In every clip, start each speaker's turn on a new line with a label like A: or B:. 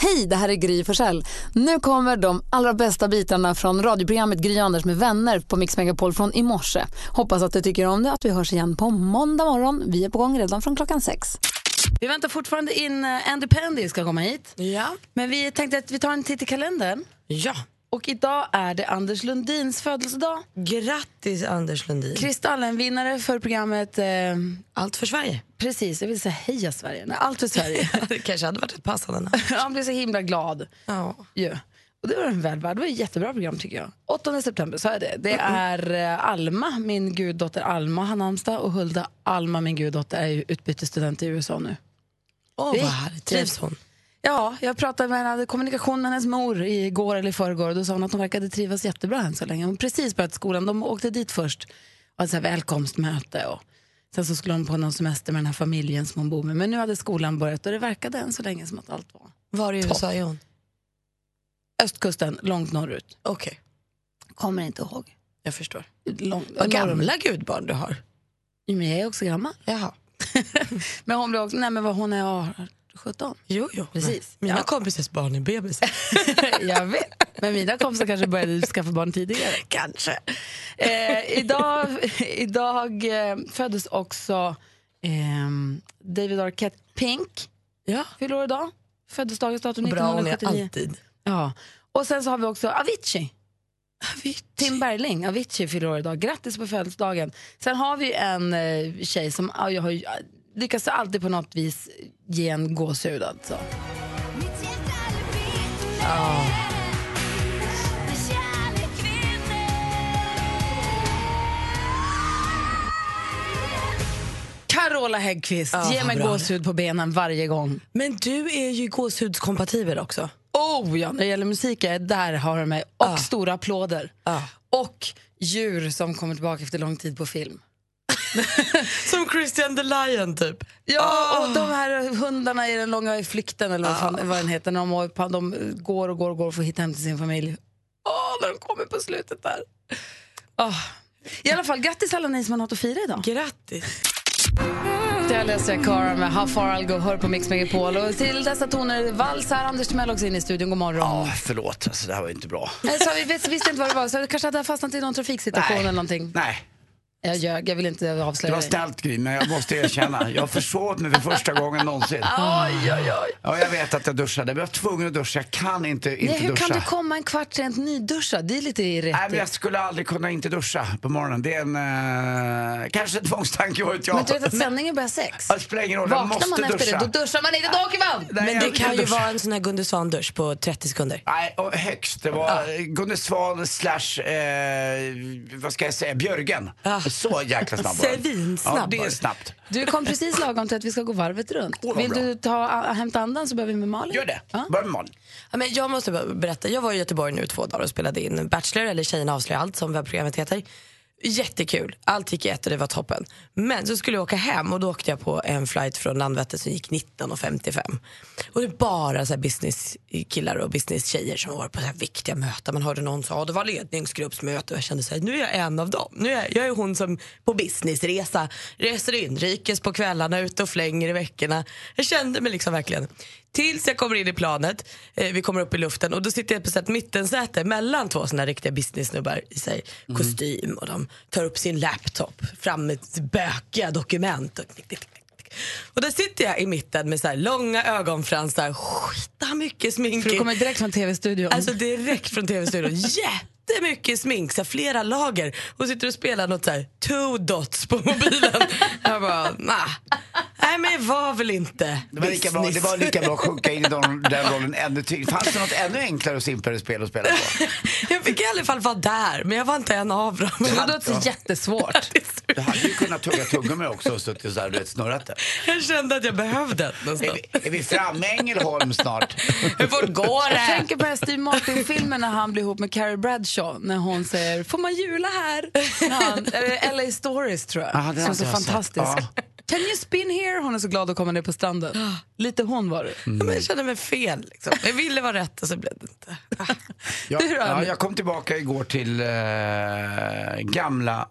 A: Hej, det här är Gry Forssell. Nu kommer de allra bästa bitarna från radioprogrammet Gry Anders med vänner på Mix Megapol från i morse. Hoppas att du tycker om det att vi hörs igen på måndag morgon. Vi är på gång redan från klockan sex.
B: Vi väntar fortfarande in eh, Andy Pandy ska komma hit.
C: Ja.
B: Men vi tänkte att vi tar en titt i kalendern.
C: Ja.
B: Och idag är det Anders Lundins födelsedag.
C: Grattis Anders Lundin.
B: Kristallen-vinnare för programmet... Eh,
C: Allt för Sverige.
B: precis, jag vill säga heja Sverige. Nej, allt för Sverige.
C: Det kanske hade varit ett passande namn.
B: Han blev så himla glad.
C: Ja.
B: ju. Och det var en väl värd. Det var ett jättebra program tycker jag. 8 september, så är det. Det är eh, Alma, min guddotter Alma har namnsdag och Hulda Alma, min guddotter, är ju utbytesstudent i USA nu.
C: Åh,
B: Det-
C: vad härligt. Trivs hon?
B: Ja, jag pratade med henne, hade kommunikation med hennes mor igår eller i förrgår och då sa hon att hon verkade trivas jättebra än så länge. Hon har precis börjat skolan, de åkte dit först och hade så här välkomstmöte och sen så skulle hon på någon semester med den här familjen som hon bor med. Men nu hade skolan börjat och det verkade än så länge som att allt var
C: Var i USA är hon?
B: östkusten, långt norrut.
C: Okej,
B: Kommer inte ihåg.
C: jag förstår.
B: Långt,
C: Vad
B: norrut.
C: gamla gudbarn du har.
B: Jo, Men jag är också gammal.
C: Jaha.
B: Men hon blev också, nej men vad hon är 18, 17.
C: Jo, jo.
B: Precis.
C: Mina
B: Ja.
C: kompisars barn är bebisar.
B: jag vet. Men mina kompisar kanske började skaffa barn tidigare.
C: kanske.
B: Eh, idag idag eh, föddes också ehm, David Arquette Pink.
C: Ja.
B: Fyller år idag. Födelsedagens datum
C: Och bra hon är
B: 1979.
C: alltid.
B: Ja. Och sen så har vi också Avicii. Tim Bergling, Avicii fyller år idag. Grattis på födelsedagen. Sen har vi en eh, tjej som ah, jag har, ju- ah, lyckas alltid på något vis ge en gåshud alltså.
D: Oh.
B: Carola Häggkvist,
C: Ja,
B: ge mig
C: bra.
B: gåshud på benen varje gång.
C: Men du är ju gåshudskompatibel också.
B: Oh ja, när det gäller musik, är- där har de mig. Och
C: Ja.
B: stora applåder.
C: Ja.
B: Och djur som kommer tillbaka efter lång tid på film.
C: Som Christian the Lion typ.
B: Ja, och de här hundarna i den långa flykten eller vad, fan, vad den heter, när de, har- pan- de går och går och går för att hitta hem till sin familj. Åh, när de kommer på slutet där. Åh. Ah. I alla fall, grattis alla ni som har något att fira idag.
C: Grattis.
B: Det här läser jag Cara med How far I'll go, hör på Mix Megapol. Och till dessa toner vals här, Anders Timell också in i studion, god morgon.
E: Ja, förlåt. Alltså, det här var ju inte bra.
B: Nej, så vi visste, visste inte vad det var, så det kanske hade jag fastnat i någon trafiksituation
E: Nej.
B: eller någonting.
E: Nej,
B: Jag ljög, jag vill inte
E: det
B: avslöja
E: var snällt Gry, men jag måste erkänna. Jag försov mig för första gången någonsin.
B: Oj, oj, oj.
E: Ja, jag vet att jag duschade, men jag var tvungen att duscha. Jag kan inte, inte
B: Nej, hur
E: duscha.
B: kan du komma en kvart sent nyduschad? Det är lite
E: Nej, men
B: irriterande.
E: jag skulle aldrig kunna inte duscha på morgonen. Det är en... Eh, kanske en tvångstanke, vad vet jag.
B: Men du vet att sändningen börjar sex?
E: Det spelar ingen roll, Alltså, jag
B: Vaknar
E: måste
B: man efter
E: duscha.
B: det, då duschar man inte, då åker man!
E: Nej,
C: Men
E: jag
C: det
E: vill
C: kan ju
E: duscha.
C: vara en sån här Gunde Svan-dusch på 30 sekunder.
E: Nej, och högst. Det var ja. Gunde Svan slash, eh, vad ska jag säga, Björgen. Så jäkla snabb var den.
C: Svinsnabb
E: Ja, det
C: var
E: är
C: den.
E: snabbt.
B: Du kom precis lagom till att vi ska gå varvet runt.
E: Åh, vad
B: Vill
E: bra.
B: du ta, hämta andan så börjar vi med Malin.
E: Gör det.
B: Ja.
E: Börja med Malin.
C: Ja, men jag måste bara berätta, jag var i Göteborg nu två dagar och spelade in Bachelor, eller Tjejerna avslöjar allt som webbprogrammet heter. Jättekul, allt gick i ett och det var toppen. Men så skulle jag åka hem och då åkte jag på en flight från Landvetter som gick 19.55. Och det var bara så här businesskillar och businesstjejer som var på så här viktiga möten. Man hörde någon säga att det var ledningsgruppsmöte och jag kände så här, nu är jag en av dem. Nu är jag, jag är hon som på businessresa reser inrikes på kvällarna, ute och flänger i veckorna. Jag kände mig liksom verkligen Tills jag kommer in i planet, eh, vi kommer upp i luften och då sitter jag på ett mittensäte mellan två såna här riktiga businessnubbar i sig,
E: Mm.
C: kostym och de tar upp sin laptop, fram med bökiga dokument. Och, tick, tick, tick, tick. och där sitter jag i mitten med så här långa ögonfransar, skita mycket smink.
B: Du
C: i-
B: kommer direkt från tv-studion.
C: Alltså direkt från tv-studion. Jättemycket smink, så här, flera lager. Och sitter och spelar något så här, two dots på mobilen. jag bara, nah. Nej men det var väl inte
E: Det var, lika bra, det var lika bra att sjunka in i den, den rollen ännu tyngre. Fanns det något ännu enklare och simplare spel att spela på?
C: Jag fick i alla fall vara där, men jag var inte en av dem.
B: det låter jättesvårt.
E: Du hade ju kunnat tugga tuggummi också och suttit såhär, du vet, snurrat det.
C: Jag kände att jag behövde det
E: Är
C: någonstans.
E: vi, är vi framme Ängelholm snart?
C: Hur fort går
B: Jag
C: det?
B: tänker på den här Steve Martin-filmen när han blir ihop med Carrie Bradshaw när hon säger “Får man jula här?” När han, eller LA Stories tror jag,
E: Ah, den
B: som är
E: har
B: så
E: jag sett.
B: fantastisk.
E: Ja.
B: “Can you spin here?” Hon är så glad att komma ner på stranden. Lite hon var det.
E: Mm.
C: Ja, men jag kände mig fel. Liksom. Jag ville vara rätt och så blev det inte.
E: Jag,
B: Du då?
E: ja, jag kom tillbaka igår till eh, gamla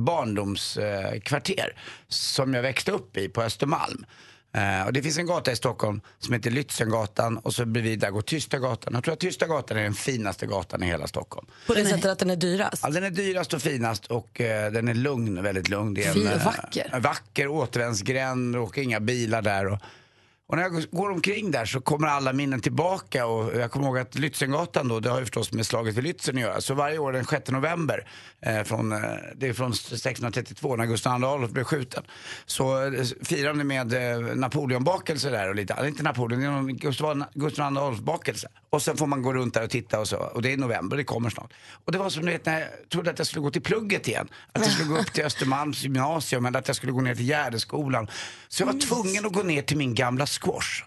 E: barndomskvarter eh, kvarter som jag växte upp i på Östermalm. Eh, och det finns en gata i Stockholm som heter Lützengatan och så bredvid där går Tysta gatan. Jag tror att Tysta gatan är den finaste gatan i hela Stockholm.
C: På det sättet att den är dyrast.
E: Ja, den är dyrast och finast och eh, den är lugn, väldigt lugn. Det är
B: Fin och
E: eh,
B: vacker.
E: en vacker återvändsgränd, det åker inga bilar där. Och, och när jag går omkring där så kommer alla minnen tillbaka och jag kommer ihåg att Lützengatan då, det har ju förstås med slaget vid Lützen att göra. Så varje år den 6 november, eh, från, eh, det är från 1632 när Gustav II Adolf blev skjuten, så eh, firar de med eh, Napoleonbakelse där och lite, eller inte Napoleon, det är någon Gustav, Gustav II Adolf bakelse. Och sen får man gå runt där och titta och så. Och det är november, det kommer snart. Och det var som du vet när jag trodde att jag skulle gå till plugget igen. Att jag skulle gå upp till Östermalms gymnasium eller att jag skulle gå ner till Gärdeskolan. Så jag var tvungen att gå ner till min gamla squash.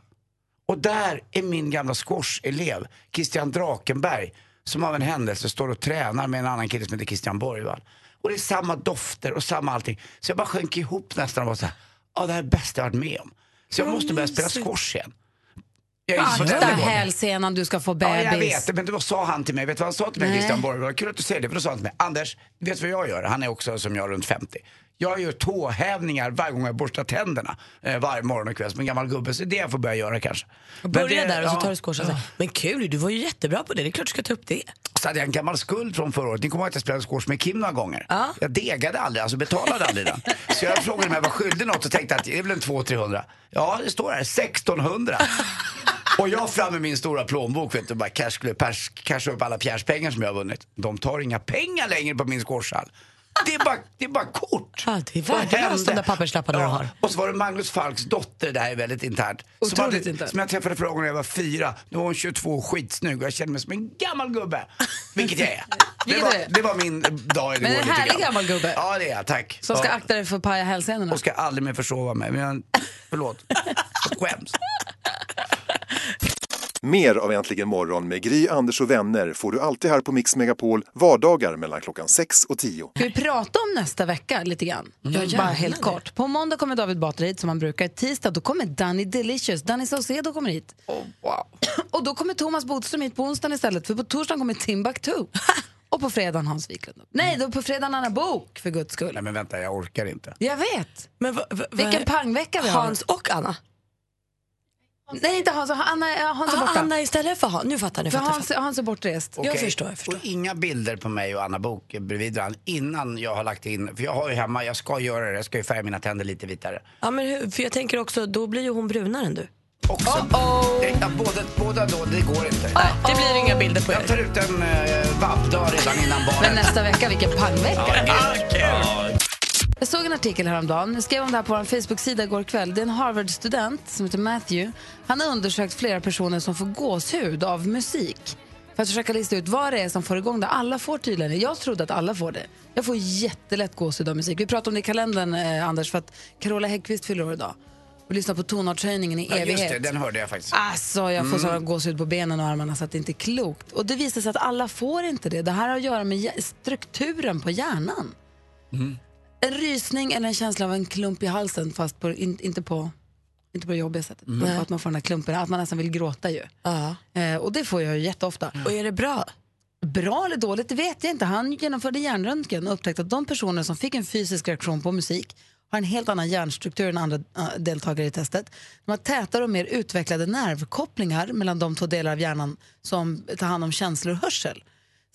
E: Och där är min gamla squash-elev, Christian Drakenberg, som av en händelse står och tränar med en annan kille som heter Christian Borgvall. Och det är samma dofter och samma allting. Så jag bara sjönk ihop nästan och var så här, ja det här är det bästa jag varit med om. Så jag måste börja spela squash igen. Jag är ju så
B: Akta
E: äldre på det.
B: hälsenan, du ska få bebis.
E: Ja, jag vet det, men då sa han till mig, vet du vad han sa till mig
B: Nej.
E: Christian Borg? Det var Kul att du säger det, för då sa han till mig, Anders, vet du vad jag gör? Han är också som jag, runt 50. Jag gör tåhävningar varje gång jag borstar tänderna eh, varje morgon och kväll som en gammal gubbe. Så det jag får börja göra kanske. Men
C: Börja
E: det-
C: där och så
E: ja.
C: tar du squash. och så här, Men kul, du var ju jättebra på det. Det är klart du ska ta upp det.
E: Så hade jag en gammal skuld från förra året. Ni kommer ihåg att jag spelade squash med Kim några gånger. Jag degade aldrig, alltså betalade aldrig den. Så jag frågade om jag var skyldig något och tänkte att det är väl en 200-300. Ja, det står här 1600. Och jag fram med min stora plånbok vet du, bara cash, pers, cash upp alla pjärspengar som jag har vunnit. De tar inga pengar längre på min squashhall. Det är bara, det är bara kort.
C: Ja, det är
E: Vad
C: värdelöst,
E: hände?
C: de där papperslapparna du har.
E: Och så var det Magnus Falks dotter, det här är väldigt internt. Som,
B: Otroligt internt.
E: som jag träffade förra gången när jag var fyra. Nu var hon 22 och skitsnygg och jag kände mig som en gammal gubbe. Vilket jag är. Det
B: Vilket
E: var,
B: du är.
E: det var min dag igår.
B: Men en
E: lite
B: härlig
E: grann.
B: gammal gubbe.
E: Ja det är jag, tack.
B: Som ska
E: Ja.
B: akta dig för att paja hälsenorna.
E: Och ska aldrig mer försova mig. Men jag, förlåt. Jag skäms.
F: Mer av Äntligen morgon med Gry, Anders och vänner får du alltid här på Mix Megapol vardagar mellan klockan 6 och 10.
B: Ska vi prata om nästa vecka lite grann?
E: Mm.
B: Bara helt kort. På måndag kommer David Batra hit som han brukar. Tisdag då kommer Danny Delicious, Danny Saucedo kommer hit.
E: Oh,
B: Och då kommer Thomas Bodström hit på onsdagen istället för på torsdagen kommer Timbuktu. Och på fredagen Hans Wiklund. Nej, då på fredagen Anna Bok för guds skull.
E: Nej men vänta, jag orkar inte.
B: Jag vet!
C: Men va, va,
B: Vilken
C: va,
B: pangvecka vi har.
C: Hans och Anna.
B: Nej, inte Hans. Anna, Hans är
C: Ah,
B: borta.
C: Anna istället för Hans. Nu fattar jag, nu
B: För
C: fattar jag. fattar.
B: Hans, Hans är bortrest.
E: Okej.
C: förstår, jag förstår.
E: Och inga bilder på mig och Anna Bok bredvid varandra innan jag har lagt in. För jag har ju hemma, jag ska göra det, jag ska ju färga mina tänder lite vitare.
C: Ja, men hur, för jag tänker också, då blir ju hon brunare än du.
E: Också. Nej, ja, båda, båda då, det går inte.
C: Det blir inga bilder på
E: Jag
C: er.
E: tar ut en eh, vabbdag redan innan
B: Men
E: barnet.
B: nästa vecka, vilken pangvecka.
E: Ah, kul!
B: Jag såg en artikel häromdagen. Jag skrev om det här på vår Facebook-sida igår kväll. Det är en Harvard-student som heter Matthew. Han har undersökt flera personer som får gåshud av musik. För att försöka lista ut vad det är som får igång det. Alla får tydligen det. Jag trodde att alla får det. Jag får jättelätt gåshud av musik. Vi pratade om det i kalendern, eh, Anders, för att Carola Häggkvist fyller år idag. Och lyssnar på tonartshöjningen i
E: Ja,
B: evighet.
E: just det, den hörde jag faktiskt.
B: Alltså, jag får sådana gåshud på benen och armarna så att det inte är klokt. Och det visar sig att alla får inte det. Det här har att göra med hjär- strukturen på hjärnan. En rysning eller en känsla av en klump i halsen fast på, in, inte på inte på det jobbiga sättet. Men på Att man får den här klumpen, att man nästan vill gråta ju.
C: Ja. Mm.
B: Eh, och det får jag ju jätteofta.
C: Och är det bra?
B: Bra eller dåligt, det vet jag inte. Han genomförde hjärnröntgen och upptäckte att de personer som fick en fysisk reaktion på musik har en helt annan hjärnstruktur än andra äh, deltagare i testet. De har tätare och mer utvecklade nervkopplingar mellan de två delar av hjärnan som tar hand om känslor och hörsel.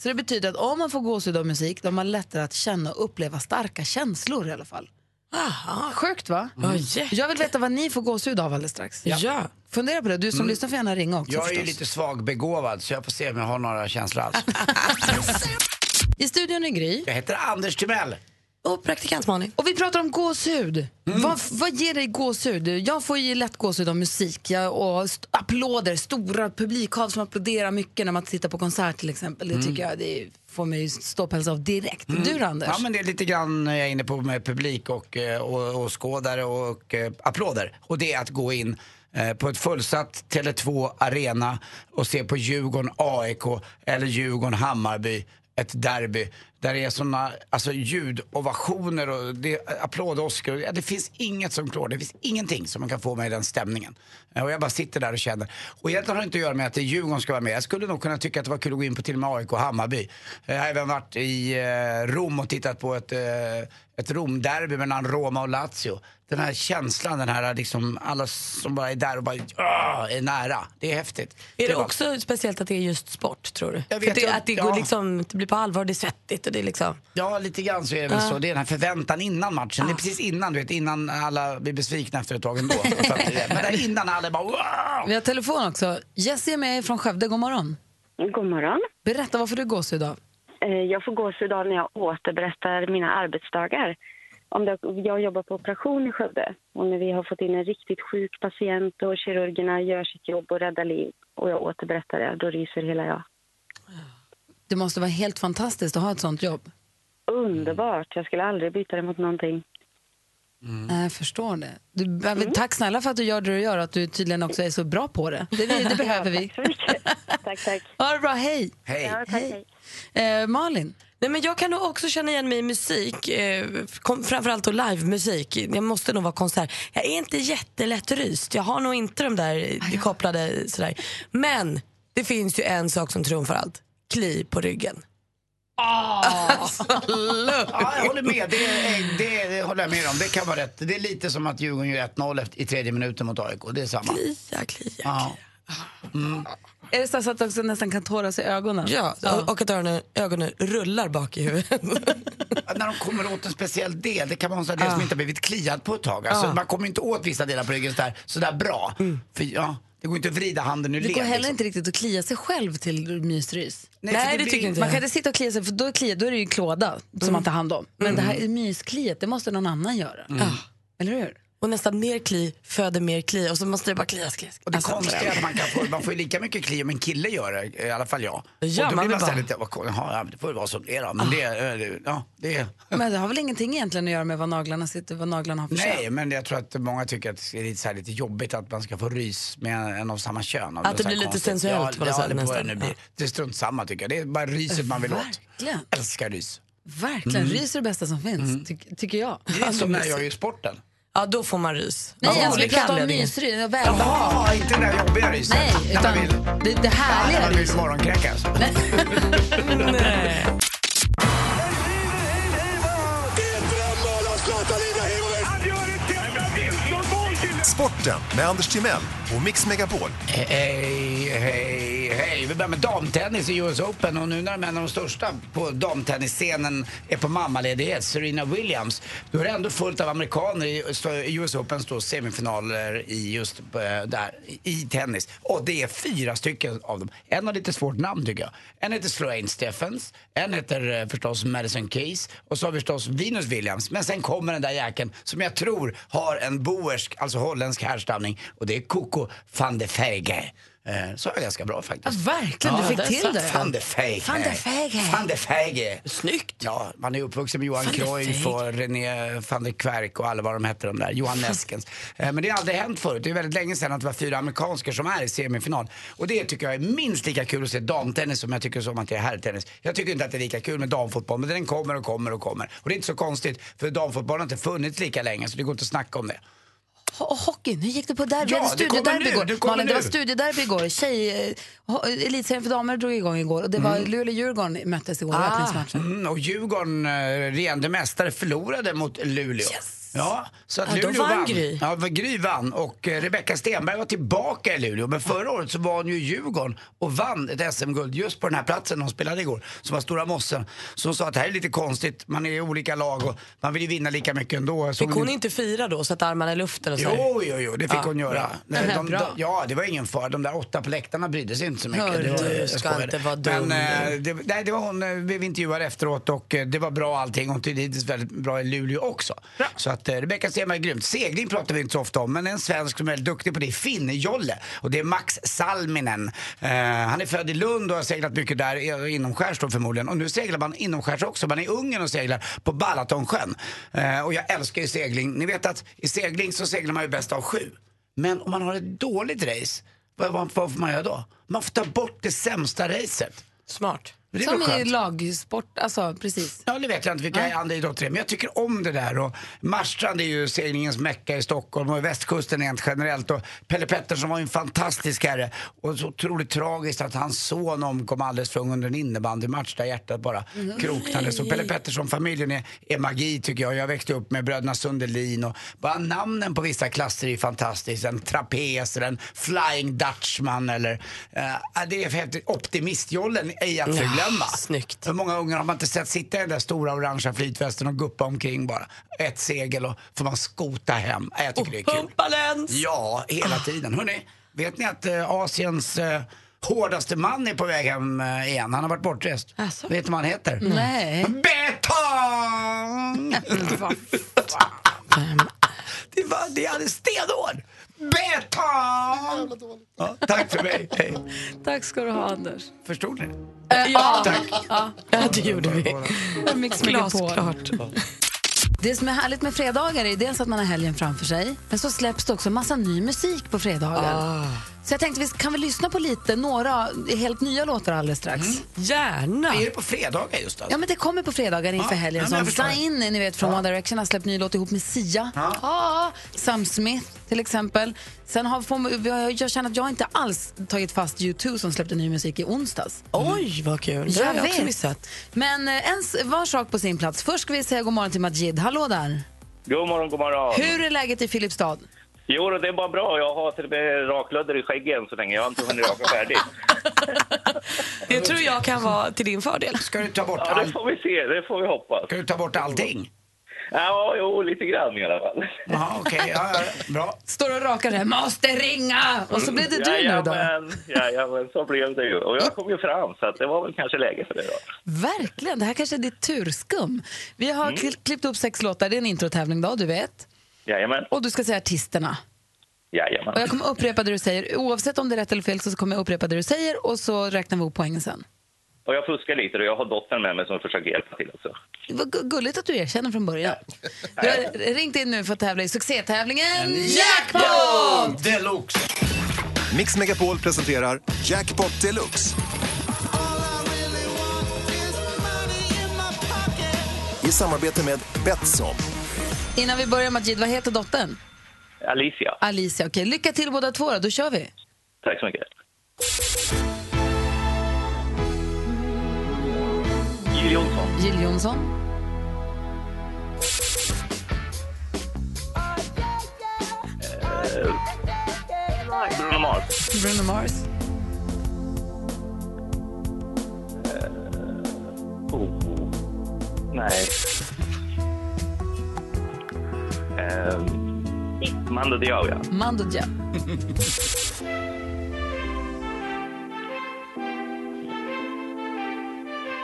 B: Så det betyder att om man får gåshud av musik, då har man lättare att känna och uppleva starka känslor i alla fall.
C: Aha.
B: Ah, Sjukt va?
E: Mm.
C: Ja, jätte-
B: Jag vill veta vad ni får gåshud av alldeles strax.
C: ja.
B: Fundera på det, du som lyssnar får gärna ringa också
E: Mm. Jag är ju
B: förstås.
E: lite svagbegåvad så jag får se om jag har några känslor alls.
B: I studion är Gry.
E: Jag heter Anders Timell.
C: Och praktikant Malin.
B: Och vi pratar om gåshud. Vad, vad ger dig gåshud? Jag får ju lätt gåshud av musik jag, och st- applåder, stora publikhav som applåderar mycket när man tittar på konsert till exempel. Det tycker jag det får mig ju ståpäls av direkt. Du då, Anders?
E: Ja men det är lite grann eh, jag är inne på med publik och eh, och- och skådare och eh, applåder. Och det är att gå in eh, på ett fullsatt Tele2 Arena och se på Djurgården AIK eller Djurgården Hammarby, ett derby. Där det är såna alltså, ljudovationer och det, applådåskor. Ja, det finns inget som klår. Det finns ingenting som man kan få mig i den stämningen. Eh, Och jag bara sitter där och känner. Och egentligen har det inte att göra med att det är Djurgården ska vara med. Jag skulle nog kunna tycka att det var kul att gå in på till och med AIK och Hammarby. Eh, Jag har även varit i eh, Rom och tittat på ett eh, ett Romderby mellan Roma och Lazio. Den här känslan, den här liksom, alla som bara är där och bara "Ah", är nära. Det är häftigt.
C: Är det
E: var-
C: också speciellt att det är just sport tror du?
E: Jag vet
C: För det,
E: inte,
C: att det,
E: ja.
C: går liksom, det blir på allvar, det är svettigt och det är liksom...
E: Ja, lite grann så är det väl så. Det är den här förväntan innan matchen. Det är precis innan, du vet, innan alla blir besvikna efter ett tag ändå. Så att, eh, men där innan alla är bara wow!
B: Vi har telefon också. Jessie är med från Skövde. God morgon.
G: God morgon.
B: Berätta varför du går så idag.
G: Eh, Jag får gåshud av när jag återberättar mina arbetsdagar. Om det, jag jobbar på operation i Skövde och när vi har fått in en riktigt sjuk patient och kirurgerna gör sitt jobb och räddar liv och jag återberättar det, då ryser hela jag.
B: Det måste vara helt fantastiskt att ha ett sånt jobb.
G: Underbart! Jag skulle aldrig byta det mot någonting.
B: Nej, Jag Äh, förstår det. Du, mm. Tack snälla för att du gör det du gör och att du tydligen också är så bra på det. Det, vi- det behöver vi.
G: Så mycket. tack, tack.
B: Ha det bra, hej!
E: Hej!
G: Ja, tack, hej.
B: Eh, Malin,
C: Nej, men jag kan nog också känna igen mig i musik, eh, kom, framförallt då livemusik. Jag måste nog vara konsert. Jag är inte jättelätt ryst, jag har nog inte de där eh, kopplade sådär. Men det finns ju en sak som trumfar allt, kli på ryggen.
E: Ja, jag håller med. Det, är, det, är, det håller jag med om. Det kan vara rätt. Det är lite som att Djurgården gör 1-0 efter- i tredje minuten mot AIK. Det är samma.
C: Klia, klia, klia.
E: Ja.
B: är det så att också nästan kan tåras i ögonen?
C: Ja, och, och att öronen, ögonen rullar bak i huvudet.
E: Att När de kommer åt en speciell del, det kan vara en sån här del som inte har blivit kliad på ett tag. Alltså, Man kommer inte åt vissa delar på ryggen sådär, sådär bra. För ja, det går inte att vrida handen ur
B: Det
E: led.
B: går heller
E: liksom.
B: inte riktigt att klia sig själv till mysrys.
E: Nej, för det blir-
B: Man kan inte sitta och klia sig, för då, klia, då är det ju klåda som man tar hand om. Mm. Men det här
E: Mm.
B: är myskliet, det måste någon annan göra. Ah, Eller hur?
C: och nästan mer kli föder mer kli Alltså, och så måste det bara klias, klias.
E: Och det konstiga är att man, kan få, man får ju lika mycket kli om en kille gör det, i alla fall jag.
C: Ja,
E: och
C: man
E: då blir
C: vill
E: man såhär
C: bara-
E: lite, "Vad kon- jaha, ja, men det får ju vara som det är då. Men det, är- det, är- ja, det är...
B: Men det har väl ingenting egentligen att göra med vad naglarna sitter, vad naglarna har för
E: Nej,
B: kön?
E: men jag tror att många tycker att det är lite, så här, lite jobbigt att man ska få rys med en av samma kön.
C: Att det
E: så här
C: blir lite
E: konstigt.
C: sensuellt på
E: Ja,
C: något
E: ja,
C: sätt
E: eller vad det
C: nästan.
E: nu blir. Det är strunt samma tycker jag. Det är bara ryset man vill åt.
B: Verkligen.
E: Älskar rys.
B: Verkligen, rys är det bästa som finns, ty- tycker jag.
E: Mm. Det är som när jag gör ju sporten.
C: Ja, då får man rys.
B: Nej,
C: Av
B: alltså vi
C: olika
B: pratar om
C: anledningar.
B: mysrys, välbehag.
E: Jaha, inte det där jobbiga ryset.
B: Nej,
E: När
B: utan
E: man vill,
B: det, liksom- det
E: när
B: härliga
E: man vill
B: ryset.
E: morgonkräkas.
F: Sporten med Anders Timell och Mix Megapol.
E: Hej, hej, hej. Vi börjar med damtennis i US Open och nu när de är en av de största på damtennisscenen är på mammaledighet, Serena Williams, då är det ändå fullt av amerikaner i i US Opens då semifinaler i just eh, där, i- i tennis. Och det är fyra stycken av dem. En har lite svårt namn tycker jag. En heter Sloane Stephens, en heter eh, förstås Madison Keys och så har vi förstås Venus Williams. Men sen kommer den där jäkeln som jag tror har en boersk, alltså holländsk härstamning och det är Coco van de Verge. Eh, Så är jag ganska bra faktiskt.
B: Ja, verkligen, du fick
E: där
B: till
E: satt
B: det.
E: Van de Verge.
B: Van de Verge.
E: Van de Verge.
C: Snyggt.
E: Ja, man är uppvuxen med Johan
C: Van de
E: Cruyff och René van der Kverk och alla vad de hette de där, Johan Neskens. Eh, Men det har aldrig hänt förut. Det är väldigt länge sedan att det var fyra amerikanskor som är i semifinal. Och det tycker jag är minst lika kul att se damtennis som jag tycker som att det är herrtennis. Jag tycker inte att det är lika kul med damfotboll, men den kommer och kommer och kommer. Och det är inte så konstigt, för damfotboll har inte funnits lika länge, så det går inte att snacka om det.
B: Ho- Och hockeyn, hur gick det på derby?
E: Ja,
B: Ja, det
E: det kommer
B: studiederby
E: nu,
B: igår.
E: det kommer
B: Malin, det var
E: nu.
B: studiederby igår. Tjej, eh, ho- elitserien för damer drog igång igår och det var Luleå-Djurgården möttes igår i öppningsmatchen.
E: Mm, och Djurgården, eh, regerande mästare, förlorade mot Luleå. Ja, så att
C: Ja, då
E: Luleå
C: vann
E: vann.
C: Gry.
E: Ja, för Gry vann och eh, Rebecka Stenberg var tillbaka i Luleå. Men förra året så var hon ju i Djurgården och vann ett SM-guld just på den här platsen hon spelade igår, som var Stora Mossen. Så hon sa att det här är lite konstigt, man är i olika lag och man vill ju vinna lika mycket ändå. Så
C: Fick hon inte fira då, sätta armarna i luften och så här?
E: Jo, jo, jo, det fick
C: Ja,
E: hon göra. De,
B: Ja,
E: de,
B: bra.
E: ja, det var ingen fara. De där åtta på läktarna brydde sig inte så mycket.
B: Hörru,
E: det var,
C: du
E: jag
C: ska
E: skojade.
C: inte vara dum.
E: Men, eh, det, nej, det var hon eh, blev intervjuad efteråt och eh, det var bra allting. Hon tyckte hittills väldigt bra i Luleå också. Så att eh, Rebecka Stenberg är grymt. Segling pratar vi inte så ofta om, men en svensk som är väldigt duktig på det är Finn-Jolle. Och det är Max Salminen. Eh, han är född i Lund och har seglat mycket där, eh, inomskärs då förmodligen. Och nu seglar man inomskärs också. Man är i Ungern och seglar på Balatonsjön. Eh, och jag älskar ju segling. Ni vet att i segling så seglar man ju bäst av sju. Men om man har ett dåligt race, vad, vad, vad får man göra då? Man får ta bort det sämsta racet.
C: Smart.
E: Det är
B: Som
E: väl
B: i
E: skönt.
B: lagsport, alltså precis.
E: Ja, det vet jag inte vilka andra idrotter det är, men jag tycker om det där. Och Marstrand är ju seglingens mecka i Stockholm och västkusten rent generellt. Och Pelle Pettersson var ju en fantastisk herre. Och så otroligt tragiskt att hans son omkom alldeles för ung under en innebandymatch där hjärtat bara
B: Mm.
E: kroknade. Så Pelle Pettersson-familjen är, är magi tycker jag. Jag växte upp med bröderna Sundelin och bara namnen på vissa klasser är fantastiskt. En trapez eller en flying dutchman eller... eh, det är för häftigt. Optimistjollen är att förglömma.
C: snyggt.
E: Hur många ungar har man inte sett sitta i den där stora orangea flytvästen och guppa omkring bara? Ett segel och får man skota hem. Äh, Jag tycker det är kul.
C: Pumpalens!
E: Ja, hela tiden. Hörrni, vet ni att eh, Asiens eh, hårdaste man är på väg hem eh, igen? Han har varit bortrest.
C: Alltså.
E: Vet ni vad han heter?
B: Nej.
E: Betong! det, var, det är alldeles stenhård! Betong! Ja, tack för mig. Hej.
B: Tack ska du ha Anders. Eh,
E: Förstod ni?
C: Ja,
E: Tack.
C: ja, det gjorde vi.
B: Mix Megapol.
C: Glasklart.
B: Det som är härligt med fredagar är dels att man har helgen framför sig, men så släpps det också massa ny musik på fredagar.
E: Ah.
B: Så jag tänkte, vi kan vi lyssna på lite, några helt nya låtar alldeles strax.
E: Mm.
C: Gärna.
E: Är det på fredagar just alltså?
B: Ja, men det kommer på fredagar inför
E: Ja,
B: helgen.
E: ja, men
B: Ja,
E: jag
B: Sla
E: förstår.
B: in, ni vet, från One Direction har släppt ny låt ihop med Sia.
E: Ja.
B: Ah, Sam Smith, till exempel. Sen har, får- vi har- jag känner att jag inte alls tagit fast U2 som släppte ny musik i onsdags.
C: Oj, vad kul. Det har jag också missat.
B: Men eh, en, s- var sak på sin plats. Först ska vi säga god morgon till Majid. Hallå där.
H: God morgon, god morgon.
B: Hur är läget i Filipstad?
H: Jo, det är bara bra. Jag har till och med raklödder i skäggen än så länge. Jag har inte hunnit raka färdigt.
C: Det tror jag kan vara till din fördel.
E: Ska du ta bort
H: Ja, det
E: allt?
H: får vi se. Det får vi hoppas.
E: Ska du ta bort allting?
H: Ja, jo, lite grann i alla fall.
E: Jaha, okej. Ja, ja, bra.
B: Står och rakar här. Måste ringa! Och så blev det du nu då.
H: Jajamän, jajamän, så blev det ju. Och jag kom ju fram, så att det var väl kanske läge för det då.
B: Verkligen. Det här kanske är ditt turskum. Vi har
E: Mm.
B: kli- klippt upp sex låtar. Det är en introtävling då, du vet.
H: Jajamän,
B: Och du ska säga artisterna.
H: jajamän.
B: Och jag kommer upprepa det du säger. Oavsett om det är rätt eller fel så kommer jag upprepa det du säger och så räknar vi upp poängen sen.
H: Och jag fuskar lite och jag har dottern med mig som försöker hjälpa till också.
B: Det var gu- gulligt att du erkänner från början. Du har ringt in nu för att tävla i succétävlingen Jackpot!
E: Deluxe!
F: Mix Megapol presenterar Jackpot Deluxe. I samarbete med Betsson.
B: Innan vi börjar Majid, vad heter dottern?
H: Alicia,
B: Alicia. Okej, lycka till båda två då. Då kör vi.
H: tack så mycket. Jill Johnson,
B: Jill Johnson,
H: Bruno Mars,
B: Bruno Mars,
H: Oh. Nej. Um, Mando Diao, ja.
B: Mando Diao,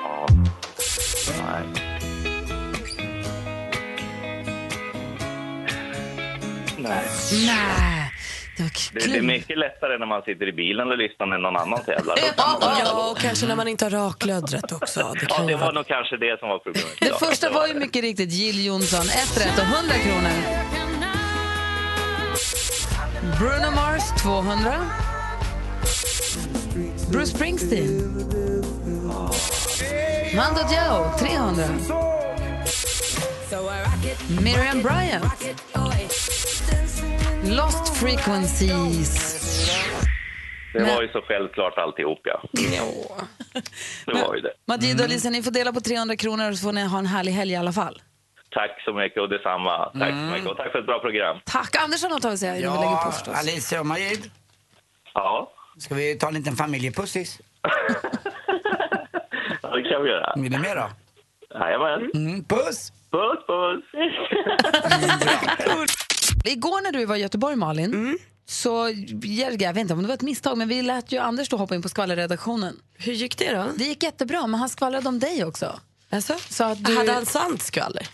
H: ja. Nej. Nej.
B: Nej, det var
H: Det, det är
B: klurigt.
H: mycket lättare när man sitter i bilen och lyssnar än någon annan tävlar.
C: Ja, och kanske när man inte har raklödret också. Det
H: Ja,
C: kan ju
H: det var
C: vara...
H: nog kanske det som var problemet.
B: Det
H: Ja,
B: första var ju mycket riktigt Jill Johnson. Ett rätt och 100 kronor. Bruno Mars 200. Bruce Springsteen. Mando Diao 300. Miriam Bryant. Lost Frequencies.
H: Det var ju så självklart alltihop, ja. Det var ju det. Mm.
B: Madid och Lisa, ni får dela på 300 kronor och så får ni ha en härlig helg i alla fall.
H: Tack så mycket och detsamma. Tack så
B: Mm.
H: mycket och tack för ett bra program.
B: Tack! Andersson har tagit sig här innan vi lägger på
E: Ja,
B: förstås.
E: Alicia och Majid.
H: Ja,
E: Ska vi ta en liten familjepussis?
H: ja, det kan vi göra.
E: Vill ni med då?
H: Jajamän.
E: Mm, puss!
H: Puss, puss!
B: Igår när du var i Göteborg, Malin, så jag vet inte om det var ett misstag, men vi lät ju Anders då hoppa in på skvallerredaktionen.
C: Hur gick det då?
B: Det gick jättebra, men han skvallrade om dig också.
C: Alltså?
B: Så att du,
C: Hade han sant skvaller?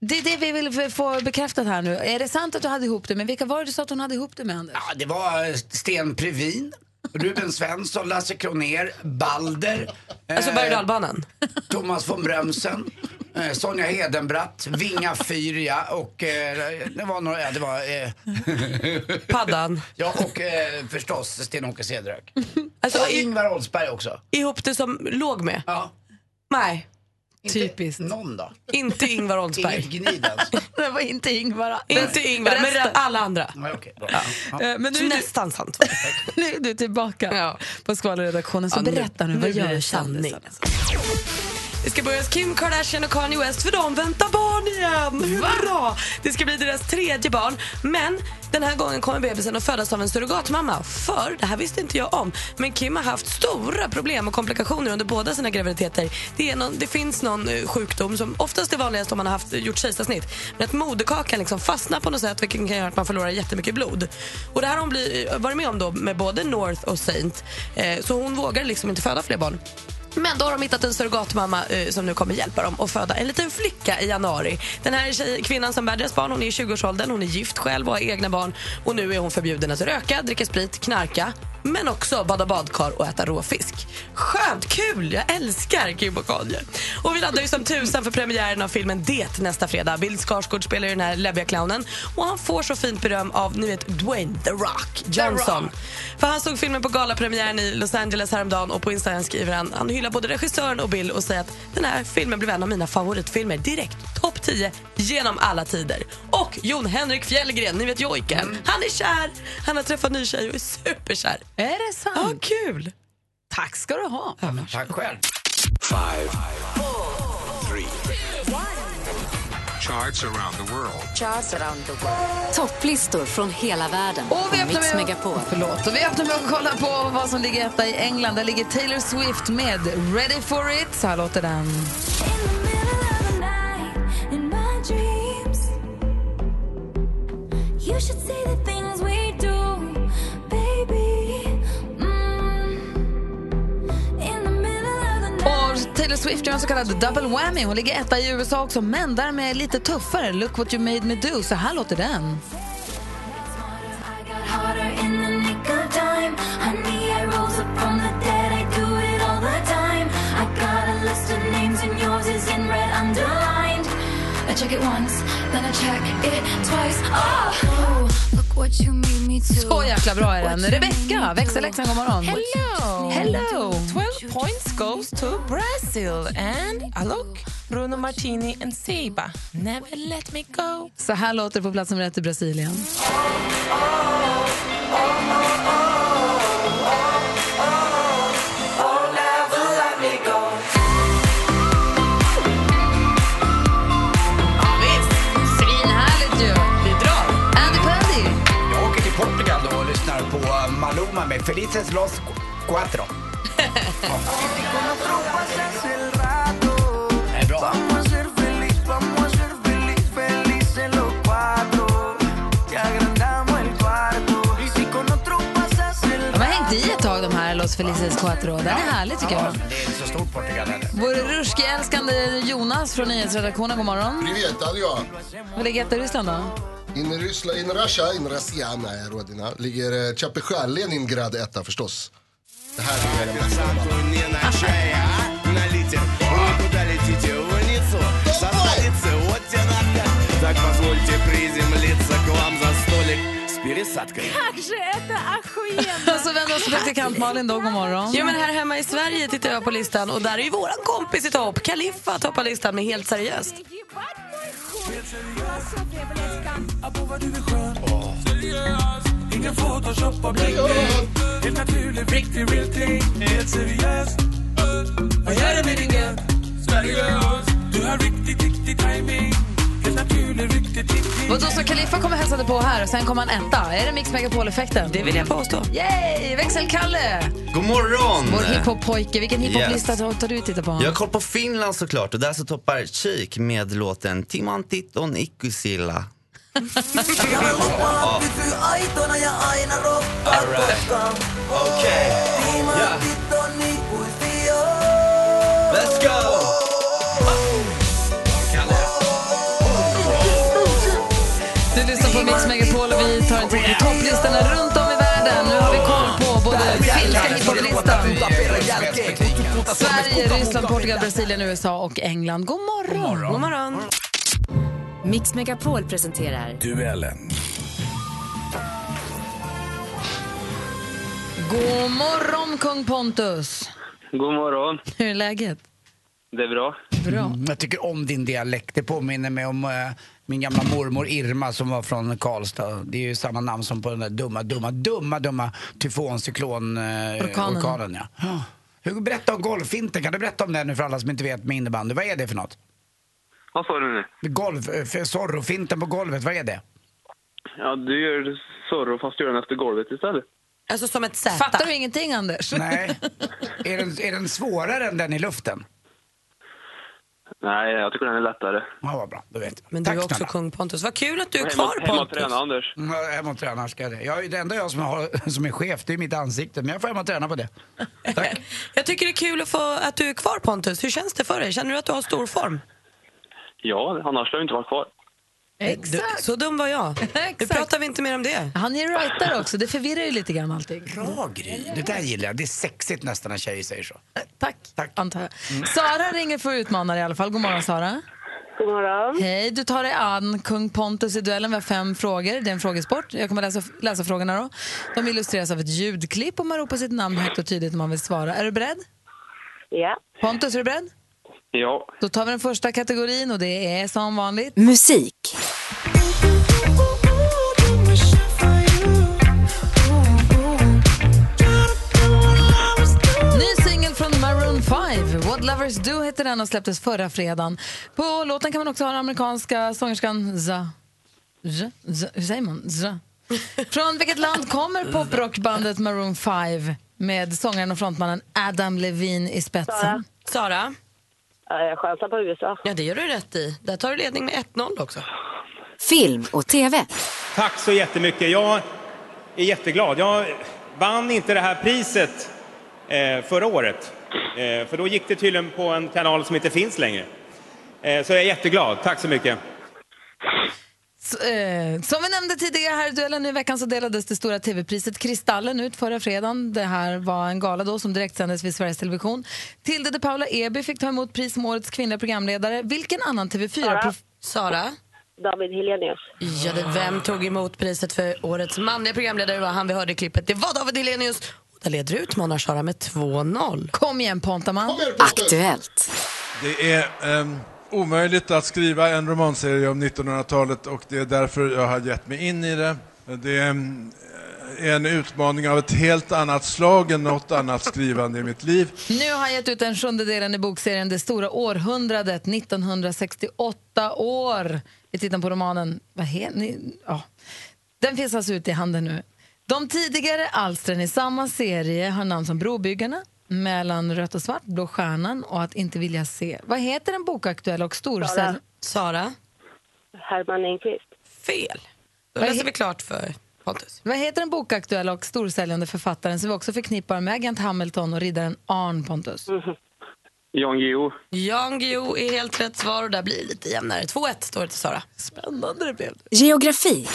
B: Det är det vi vill få bekräftat här nu. Är det sant att du hade ihop det? Men vilka var det du sa att hon hade ihop det med, Anders?
E: Ja, det var eh, Sten Previn, Ruben Svensson, Lasse Kroner, Balder, eh,
C: Alltså berg och dalbanan?
E: Thomas von Brömsen. eh, Sonja Hedenbratt, Vinga Fyria och eh, det var några, ja, det var, eh,
C: Paddan.
E: ja och eh, förstås Sten-Åke Cederhök.
C: Alltså,
E: Och
C: i,
E: Ingvar Oldsberg också.
C: ihop det som låg med?
E: Ja,
C: Nej,
B: Typiskt.
E: någon då.
C: inte Ingvar
E: Inget
C: Oldsberg.
E: gnid ens.
B: Det var inte Ingvar.
C: inte Ingvar, men
B: Resten.
C: alla andra.
E: Nej, okej, bra. Ja.
B: Eh, Men nu
C: Så
B: är, du,
C: nästan sant.
B: nu är du tillbaka
C: Ja.
B: på skvallerredaktionen. Så
C: Ja, nu-
B: berätta nu, vad
C: nu blir
B: gör
C: det
B: kändisarna?
C: sanning. Det ska börjas Kim Kardashian och Kanye West för de väntar barn igen. Hurra! Det ska bli deras tredje barn. Men den här gången kommer bebisen att födas av en surrogatmamma. För, det här visste inte jag om, men Kim har haft stora problem och komplikationer under båda sina graviditeter. Det, är någon, det finns någon eh, sjukdom som oftast är vanligast om man har haft, eh, gjort kejsarsnitt. Men att moderkakan liksom fastnar på något sätt vilket kan göra att man förlorar jättemycket blod. Och det här har hon bli, varit med om då med både North och Saint. Eh, så hon vågar liksom inte föda fler barn. Men då har de hittat en surrogatmamma eh, som nu kommer hjälpa dem att föda en liten flicka i januari. Den här tjej, kvinnan som bär deras barn hon är i 20-årsåldern, hon är gift själv och har egna barn. Och nu är hon förbjuden att röka, dricka sprit, knarka men också bada badkar och äta råfisk. Skönt, kul! Jag älskar Kim och Kanye. Och vi laddar ju som tusan för premiären av filmen Det nästa fredag. Bill Skarsgård spelar ju den här läbbiga clownen och han får så fint beröm av, ni vet, Dwayne The Rock Johnson. För han såg filmen på galapremiären i Los Angeles häromdagen och på Instagram skriver han, han hyllar både regissören och Bill och säger att den här filmen blev en av mina favoritfilmer direkt topp 10 genom alla tider. Och Jon Henrik Fjällgren, ni vet jojken,
I: Mm.
C: han är kär, han har träffat ny tjej och är superkär.
B: Är det sant?
C: Ja,
I: Mm.
C: kul!
B: Tack ska du ha.
E: Tack själv.
J: Five, four, three. Charts around the world.
K: Topplistor från hela världen.
B: Och vi
K: på Mix
B: öppnar med,
K: Megapol.
B: förlåt, och vi öppnar med att kolla på vad som ligger etta i England. Där ligger Taylor Swift med Ready for it. Så här låter den.
D: You should see the things we do, baby. in the middle of the night.
B: Och Taylor Swift gör en så kallad double whammy. Hon ligger etta i USA också, men därmed lite tuffare. Look what you made me do. Så här låter den.
D: I got harder in the nick of time. Honey, I rose up from the dead. I do it all the time. I got a list of names and yours is in red underlined. I check it once, then I check it twice. Oh, look what you made me do.
B: Så jäkla bra är den. Rebecca, växelläxan, god morgon.
I: Hello!
B: Hello!
I: 12 points goes to Brazil and Alok, Bruno Martini and Seba. Never let me go.
B: Så här låter det på plats nummer ett i Brasilien. Svinhärligt ju!
C: Vi drar!
B: Andy Pandy!
E: Jag åker till Portugal då och lyssnar på eh, Maluma med Felices Los Cuatro. Det är bra.
B: De har hängt i ett tag, de här Los Felices Cuatro. Den är härlig, tycker
E: Ja,
B: jag.
E: det är inte så stort Portugal heller.
B: Vår ruskig-älskande Jonas från nyhetsredaktionen, god morgon.
L: Привет, алло!
B: Vad ligger etta i Ryssland då?
L: In Ryssland, in Russia, in Russia, nej, Rodina, ligger eh, Chapechat, Leningrad etta förstås. Det här är
B: Och så vänder oss till praktikant Malin då, god morgon.
C: Ja, men här hemma i Sverige tittar jag på listan och där är ju våran kompis i topp, Kaliffa, toppar listan med Helt seriöst.
B: Och då så Kaliffa kommer hälsade på här och sen kommer han etta. Är det Mix Megapol-effekten?
C: Det vill jag påstå.
B: Yay! Växelkalle!
I: God morgon!
B: Vår hiphop-pojke. Vilken hiphop-lista tar du och tittar på?
I: Jag har koll på Finland såklart och där så toppar Cheek med låten Timantiton Ikusilla. Let's go!
B: Du lyssnar på Mix Megapol och vi tar en titt på topplistorna runt om i världen. Nu har vi koll på både finska hiphoplistan
E: Det är bäst betyg.
M: Sverige, Ryssland, Portugal, Brasilien, USA och England. God morgon! God morgon.
K: Mix Megapol presenterar...
N: Duellen.
B: God morgon, kung Pontus!
O: God morgon.
B: Hur är läget?
O: Det är bra.
B: Bra.
E: jag tycker om din dialekt. Det påminner mig om eh, min gamla mormor Irma som var från Karlstad. Det är ju samma namn som på den där dumma, dumma, dumma, dumma tyfoncyklon-orkanen. Eh,
B: Orkanen.
E: orkanen, ja. Ja. Hugo, berätta om golffinten. Kan du berätta om den nu för alla som inte vet med innebandy? Vad är det för något?
O: Vad sa du nu?
E: Golf, eh, för sorrofinten på golvet, vad är det?
O: Ja, du gör Zorro fast du gör den efter golvet istället.
C: Alltså som ett Z.
B: Fattar du ingenting, Anders?
E: Nej. Är den, är den svårare än den i luften?
O: Nej, jag tycker den är lättare.
E: Ja, vad bra. Då vet jag.
C: Men du är också kung Pontus. Vad kul att du är
O: Hemma-
C: kvar
O: hemma och
C: Pontus.
O: träna, Anders.
E: Mm, Jag är hemma och tränar, ska jag det. Jag, är- det enda jag som, har, som är chef, det är mitt ansikte. Men jag får hemma och träna på det.
C: Jag tycker det är kul att, få, att du är kvar Pontus. Hur känns det för dig? Känner du att du har stor form?
O: Ja, annars har jag inte varit kvar.
B: Exakt.
C: Du, så dum var jag. Nu pratar vi inte mer om det.
B: Han är writer också, det förvirrar ju lite grann allting.
E: Bra Gry. Det där gillar jag. Det är sexigt nästan när tjejer säger så.
B: Tack, antar jag. Sara ringer för att utmana dig i alla fall. God morgon, Sara.
G: God morgon.
B: Hej, du tar dig an kung Pontus i duellen. Vi har fem frågor. Det är en frågesport. Jag kommer läsa, läsa frågorna då. De illustreras av ett ljudklipp och man ropar sitt namn högt och tydligt om man vill svara. Är du beredd?
G: Ja.
B: Pontus, är du beredd?
O: Ja.
B: Då tar vi den första kategorin och det är som vanligt...
K: Musik.
B: Ny singel från Maroon 5, What Lovers Do heter den och släpptes förra fredagen. På låten kan man också höra amerikanska sångerskan Za. Z, Z, hur säger man? Z. Från vilket land kommer poprockbandet Maroon 5 med sångaren och frontmannen Adam Levine i spetsen?
C: Sara?
G: Jag chansar på USA.
C: Ja, det gör du rätt i. Där tar du ledning med 1-0 också.
K: Film och TV.
P: Tack så jättemycket. Jag är jätteglad. Jag vann inte det här priset eh, förra året. Eh, för då gick det tydligen på en kanal som inte finns längre. Eh, så jag är jätteglad. Tack så mycket.
B: S- eh, Som vi nämnde tidigare här i duellen nu i veckan så delades det stora tv-priset Kristallen ut förra fredagen. Det här var en gala då som direktsändes vid Sveriges Television. Tilde de Paula Eby fick ta emot pris som årets kvinnliga programledare. Vilken annan TV4...
C: Sara.
B: prof-
C: Sara?
G: David Helenius.
C: Ja, det, vem tog emot priset för årets manliga programledare? Det var han vi hörde i klippet. Det var David Hellenius. Och Där leder du utmanar Sara med 2-0.
B: Kom igen Pontaman.
K: Aktuellt.
Q: Det är ehm, omöjligt att skriva en romanserie om 1900-talet och det är därför jag har gett mig in i det. Det ehm, är en utmaning av ett helt annat slag än något annat skrivande i mitt liv.
B: Nu har jag gett ut den sjunde delen i bokserien Det stora århundradet, 1968 år. Vi tittar på romanen. Vad he- ni? Ja. Den finns alltså ute i handen nu. De tidigare alstren i samma serie har namn som Brobyggarna, Mellan rött och svart, Blå stjärnan och Att inte vilja se. Vad heter den bokaktuella och storsäljande...
C: Sara?
G: Herman Engqvist.
C: Fel. Då läser vi klart för Pontus.
B: Vad heter den bokaktuella och storsäljande författaren som vi också förknippar med Agent Hamilton och riddaren Arn Pontus?
O: Jan Guillou.
C: Jan Guillou är helt rätt svar och där blir det lite jämnare. 2-1 står det till Sara.
B: Spännande det blev.
K: Geografi.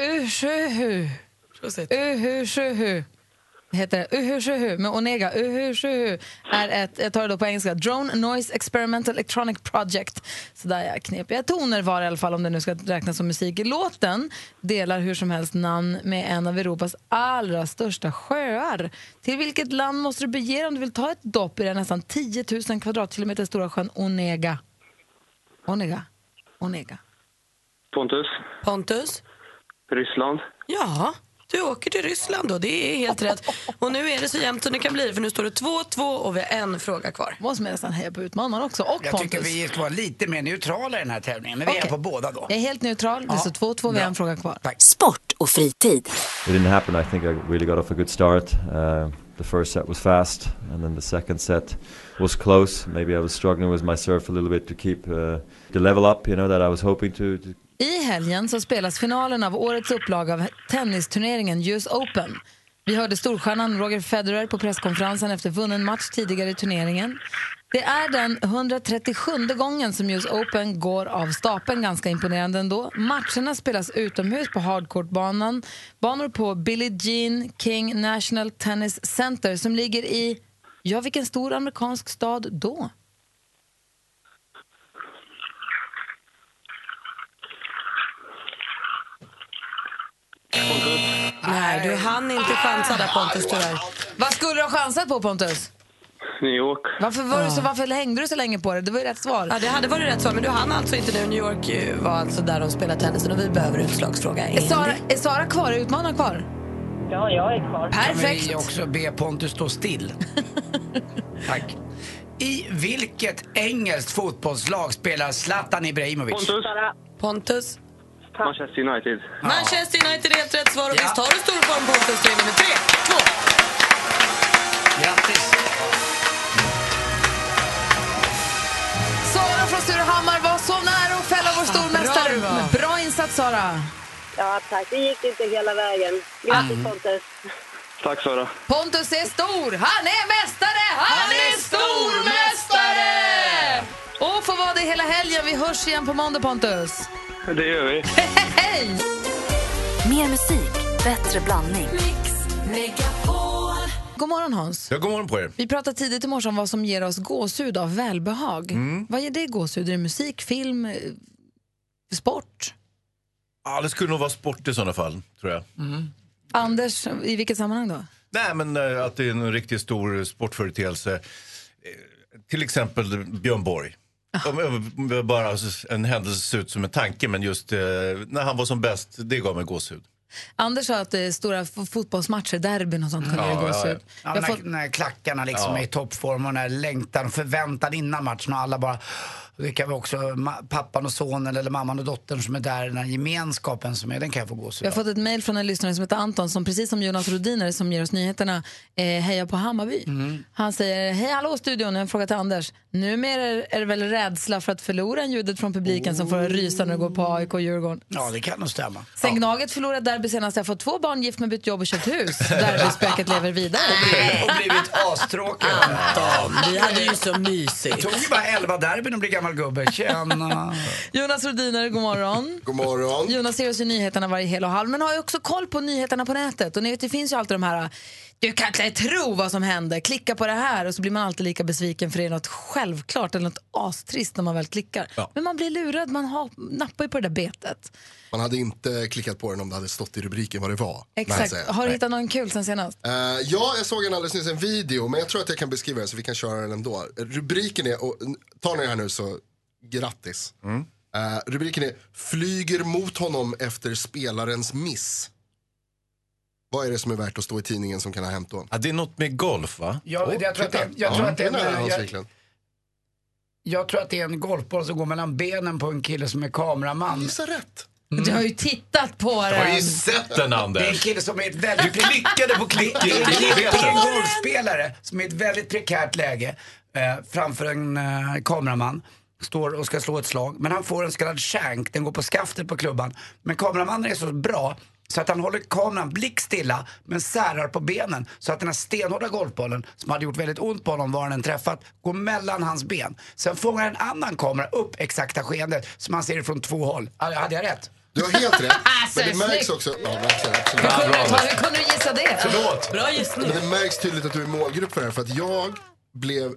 B: Uhuhu. Uhushuhu. Heter det. Uhushuhu med Onega. Uhushuhu är ett, jag tar det då på engelska, Drone Noise Experimental Electronic Project. Så där är knepiga toner var i alla fall om det nu ska räknas som musik. Låten delar hur som helst namn med en av Europas allra största sjöar. Till vilket land måste du bege dig om du vill ta ett dopp i den nästan 10 000 kvadratkilometer stora sjön Onega? Onega? Onega.
O: Pontus.
C: Pontus?
O: Ryssland.
C: Ja, du åker till Ryssland då. Det är helt rätt. Och nu är det så jämnt som det kan bli för nu står det 2-2 och vi har en fråga kvar.
B: Måste man nästan heja på utmanaren också och
E: Jag tycker vi ska vara lite mer neutrala i den här tävlingen. Men vi är på båda då.
B: Jag är helt neutral. Det står 2-2. Vi har en fråga kvar.
K: Sport och fritid.
H: It didn't happen. I think I really got off a good start. Uh, the first set was fast, and then the second set was close. Maybe I was struggling with my serve a little bit to keep uh, the level up, you know, that I was hoping to. to
B: I helgen så spelas finalen av årets upplaga av tennisturneringen US Open. Vi hörde storstjärnan Roger Federer på presskonferensen efter vunnen match tidigare i turneringen. Det är den 137 gången som US Open går av stapeln. Ganska imponerande ändå. Matcherna spelas utomhus på hardcourtbanan. Banor på Billie Jean King National Tennis Center som ligger i, ja vilken stor amerikansk stad då?
C: Nej, du hann inte chansa där Pontus tyvärr.
B: Vad skulle du ha chansat på Pontus?
H: New York.
B: Varför, var du så, varför hängde du så länge på det? Det var ju rätt svar.
C: Ja, det hade varit rätt svar, men du hann alltså inte nu. New York eh, var alltså där de spelar tennisen och vi behöver utslagsfråga.
B: Är Sara, är Sara kvar? Är utmanaren kvar?
G: Ja, jag är kvar.
B: Perfekt.
E: Jag också be Pontus stå still. Tack. I vilket engelskt fotbollslag spelar Zlatan Ibrahimovic?
H: Pontus.
C: Pontus.
H: Manchester United.
C: Manchester United är helt rätt svar och visst har du stor form Pontus. Det är nummer tre, två.
E: Grattis!
B: Sara från Surahammar var så nära att fälla vår stormästare. Men
G: bra det var.
B: Ah, Bra insats, Sara.
G: Ja, tack. Det gick inte hela vägen. Grattis,
B: Mm.
G: Pontus.
H: Tack Sara.
B: Pontus är stor. Han är mästare! Han, är stormästare! Och får vara det hela helgen. Vi hörs igen på måndag, Pontus.
H: Det gör vi.
B: Hej!
K: Mer musik, bättre blandning.
B: God morgon, Hans.
R: Ja, god morgon på er.
B: Vi pratade tidigt i morse om vad som ger oss gåshud av välbehag. Vad ger det gåshud? Är det musik, film, eh, sport?
R: Ja, det skulle nog vara sport i sådana fall, tror jag.
B: Anders, i vilket sammanhang då?
R: Nej, men eh, att det är en riktigt stor sportföreteelse. Eh, Till exempel Björn Borg. Om jag- om jag bara en händelse ser ut som en tanke, men just eh, när han var som bäst, det gav mig gåshud.
B: Anders sa att det är stora f- fotbollsmatcher, derbyn och sånt kan
R: Ja,
B: ge
R: ja,
B: gåshud.
E: Ja,
B: Jag
E: när,
B: får-
E: när klackarna liksom
R: Ja.
E: är i toppform och när längtan och förväntan innan matchen och alla bara... Det kan vara också ma- pappan och sonen eller mamman och dottern som är där, den här gemenskapen som är, den kan jag få gåshud
B: Vi har
E: av.
B: fått ett mejl från en lyssnare som heter Anton som precis som Jonas Rodiner som ger oss nyheterna eh, hejar på Hammarby.
R: Mm.
B: Han säger hej hallå studion, en fråga till Anders. Numera är- är det väl rädsla för att förlora en ljudet från publiken som får en rysa när det går på AIK och Djurgården.
E: Ja, det kan nog stämma.
B: Sen Gnaget förlorade derby senast. Jag har fått två barn, gift mig, bytt jobb och köpt hus. Derbyspöket lever vidare.
E: Och blivit astråkig.
C: Anton, vi hade ju så
E: Det
C: mysigt.
E: tog ju bara elva derbyn att bli gammal gubbe. Tjena!
B: Jonas Rodiner, god morgon.
D: God morgon.
B: Jonas ser oss ju nyheterna varje hel och halv, men har ju också koll på nyheterna på nätet. Och ni vet, det finns ju alltid de här, du kan inte tro vad som hände, klicka på det här och så blir man alltid lika besviken för det är något självklart eller något astrist när man väl klickar. Men man blir lurad, man har, nappar ju på det där betet.
D: Man hade inte klickat på den om det hade stått i rubriken vad det var. Nej,
B: Exakt.
D: säger jag.
B: Har du
D: Nej.
B: hittat någon kul sen senast?
D: Eh, ja, jag såg en alldeles nyss, en video, men jag tror att jag kan beskriva den så vi kan köra den ändå. Rubriken är, och tar ni det här nu så grattis. Eh, rubriken är Flyger mot honom efter spelarens miss. Vad är det som är värt att stå i tidningen som kan ha hänt då?
R: Ja, det är något med golf, va?
E: Ja,
D: Åh,
E: jag tror att det-
D: titta.
E: jag tror
D: Ja,
E: att det-
D: är nära
E: jag-
D: hans verkligen.
E: Jag tror att det är en golfboll som går mellan benen på en kille som är kameraman.
D: Gissa rätt!
B: Du har ju tittat på den.
R: sett den, Anders.
E: Det är en kille som är ett väldigt...
R: Du klickade på klicken.
E: Det är en kille- det är en
R: Klickade.
E: golfspelare som är i ett väldigt prekärt läge eh, framför en eh, kameraman. Står och ska slå ett slag, men han får en så kallad shank, den går på skaftet på klubban. Men kameramannen är så bra så att han håller kameran blickstilla men särar på benen så att den här stenhårda golfbollen som hade gjort väldigt ont på honom var den träffat går mellan hans ben. Sen fångar en annan kamera upp exakta skeendet som man ser det från två håll. Ah, Hade jag rätt?
D: Du har helt rätt, men det
B: Snyggt.
D: märks också... Ja, verkligen, absolut.
B: Hur kunde du gissa det?
C: Bra gissning.
D: Men det märks tydligt att du är målgrupp för det här för att jag blev eh,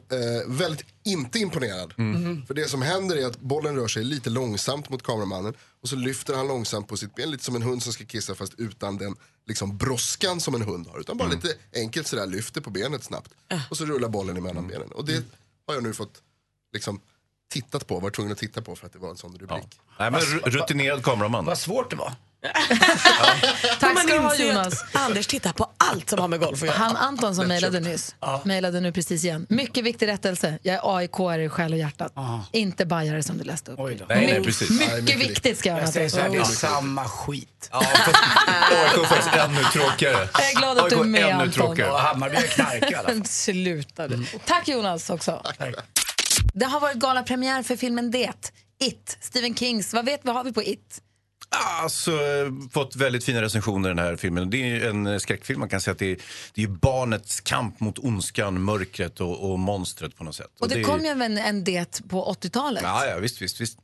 D: väldigt inte imponerad. Mm-hmm. För det som händer är att bollen rör sig lite långsamt mot kameramannen och så lyfter han långsamt på sitt ben lite som en hund som ska kissa fast utan den liksom brådskan som en hund har. Utan bara lite enkelt sådär lyfter på benet snabbt och så rullar bollen emellan benen. Och det har jag nu fått liksom tittat på, var tvungen att titta på för att det var en sån rubrik.
R: Nej, men ru- rutinerad kameraman.
E: Vad svårt det var.
B: Tack ska du ha
C: inser ju
B: Jonas.
C: att Anders tittar på allt som har med golf att göra.
B: Han Anton som mejlade nyss, mejlade nu precis igen. Mycket viktig rättelse. Jag är AIK-are i själ och hjärtat. Inte bajare som du läste upp.
E: Oj då.
R: Nej, nej,
B: My-
R: precis.
D: Nej,
B: Mycket
D: mycket
B: viktigt ska jag
E: Jag säger så här,
B: göra.
E: det är samma skit.
R: Ja, fast AIK är faktiskt ännu tråkigare.
B: Jag är glad att du är
R: AIK
B: med,
R: ännu
B: Anton.
R: tråkigare.
E: Och Hammarby är knark i alla fall.
B: Sluta du. Tack Jonas också. Det har varit galapremiär för filmen Det, It, Stephen Kings. Vad vet vad har vi på It?
R: Alltså, eh, fått väldigt fina recensioner den här filmen. Det är ju en eh, skräckfilm. Man kan säga att det är, det är ju barnets kamp mot ondskan, mörkret och, och monstret på något sätt.
B: Och det,
R: är-
B: kom ju en, en det på 80-talet.
R: Ja, ja, visst, visst, visst.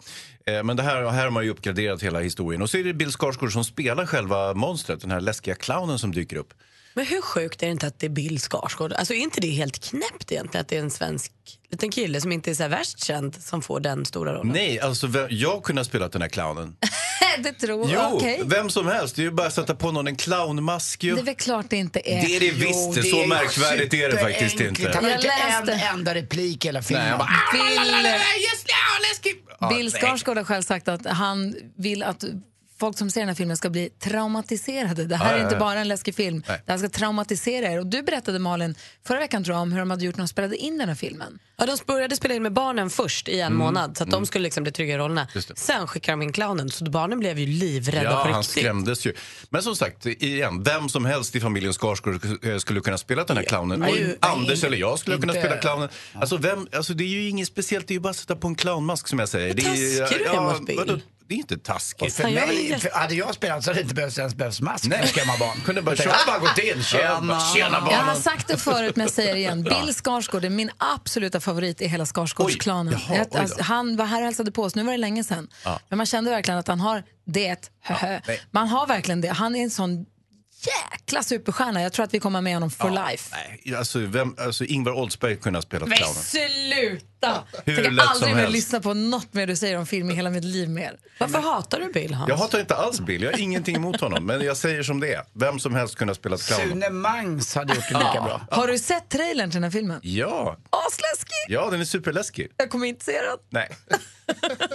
R: Eh, Men det här, här har man ju uppgraderat hela historien. Och så är det Bill Skarsgård som spelar själva monstret, den här läskiga clownen som dyker upp.
C: Men hur sjukt är det inte att det är Bill Skarsgård? Alltså är inte det helt knäppt egentligen att det är en svensk liten kille som inte är så här värst känd som får den stora rollen?
R: Nej, alltså vem, jag kunde ha spelat den här clownen.
B: det tror
R: Jo,
B: jag. Okej.
R: vem som helst. Det är ju bara att sätta på någon en clownmask ju.
B: Det är väl klart det inte är.
R: Det är det visst, det är så märkvärdigt är det faktiskt inte.
E: Han har
B: Jag
E: inte
B: läste-
E: en enda replik i hela filmen. Nej,
R: Nej, han
E: bara, "Äh,
B: Bill,
E: Ja,
B: Bill
E: nej.
B: Skarsgård har själv sagt att han vill att folk som ser den här filmen ska bli traumatiserade. Det här
S: Ja,
B: är
S: ja,
B: inte
S: ja.
B: bara en läskig film.
S: Nej.
B: Det här ska traumatisera er. Och du berättade, Malin, förra veckan tror jag, om hur de hade gjort när de spelade in den här filmen.
C: Ja, de började spela in med barnen först i en
B: Mm,
C: månad så att
R: mm.
C: de skulle liksom bli trygga i rollerna. Sen skickade de in clownen så barnen blev ju livrädda
R: Ja,
C: på
R: han
C: riktigt.
R: skrämdes ju. Men som sagt, igen, vem som helst i familjen Skarsgård eh, skulle kunna spela den här clownen.
C: Nej,
R: Och
C: ju-
R: Anders eller jag skulle
C: inte-
R: kunna spela clownen. Alltså, vem, alltså, det är ju inget speciellt, det är ju bara att sätta på en clownmask som jag säger. Det är, ju-
E: taskig du är mot Bill.
R: vadå? Det är inte taskigt.
E: För mig, för hade jag spelat så hade det inte behövts ens behövts mask
R: Nej.
E: för att skrämma barn.
R: Kunde bara
E: Utan
R: köra.
E: jag hade bara gått in,
R: Ja,
E: tjena,
R: bara,
E: tjena barn.
B: Jag har sagt det förut men jag säger det igen.
E: Ja.
B: Bill Skarsgård är min absoluta favorit i hela Skarsgårdsklanen.
S: Oj, jaha,
B: Jag-
S: oj då.
B: alltså, han var här och hälsade på oss, nu var det länge sedan.
S: Ja.
B: Men man kände verkligen att han har det, höhö.
S: nej.
B: Man har verkligen det. Han är en sån jäkla superstjärna. Jag tror att vi kommer med honom for
R: Ja,
B: life.
R: Nej, alltså, vem, alltså, Ingvar Oldsberg kunde ha spelat
B: Men
R: clownen.
B: sluta!
R: Hur
B: jag
R: lätt
B: tänker
R: som
B: aldrig mer
R: helst.
B: lyssna på något mer du säger om film i hela mitt liv mer.
C: Varför hatar du Bill Hans?
R: Jag hatar inte alls Bill, jag har ingenting emot honom. Men jag säger som det är. Vem som helst kunde ha spelat clownen.
E: Sune Mangs hade gjort det lika
R: Ja.
E: bra.
B: Har du sett trailern till den här filmen?
R: Ja,
B: Asläskig!
R: ja den är superläskig.
B: Jag kommer inte se den.
R: Nej.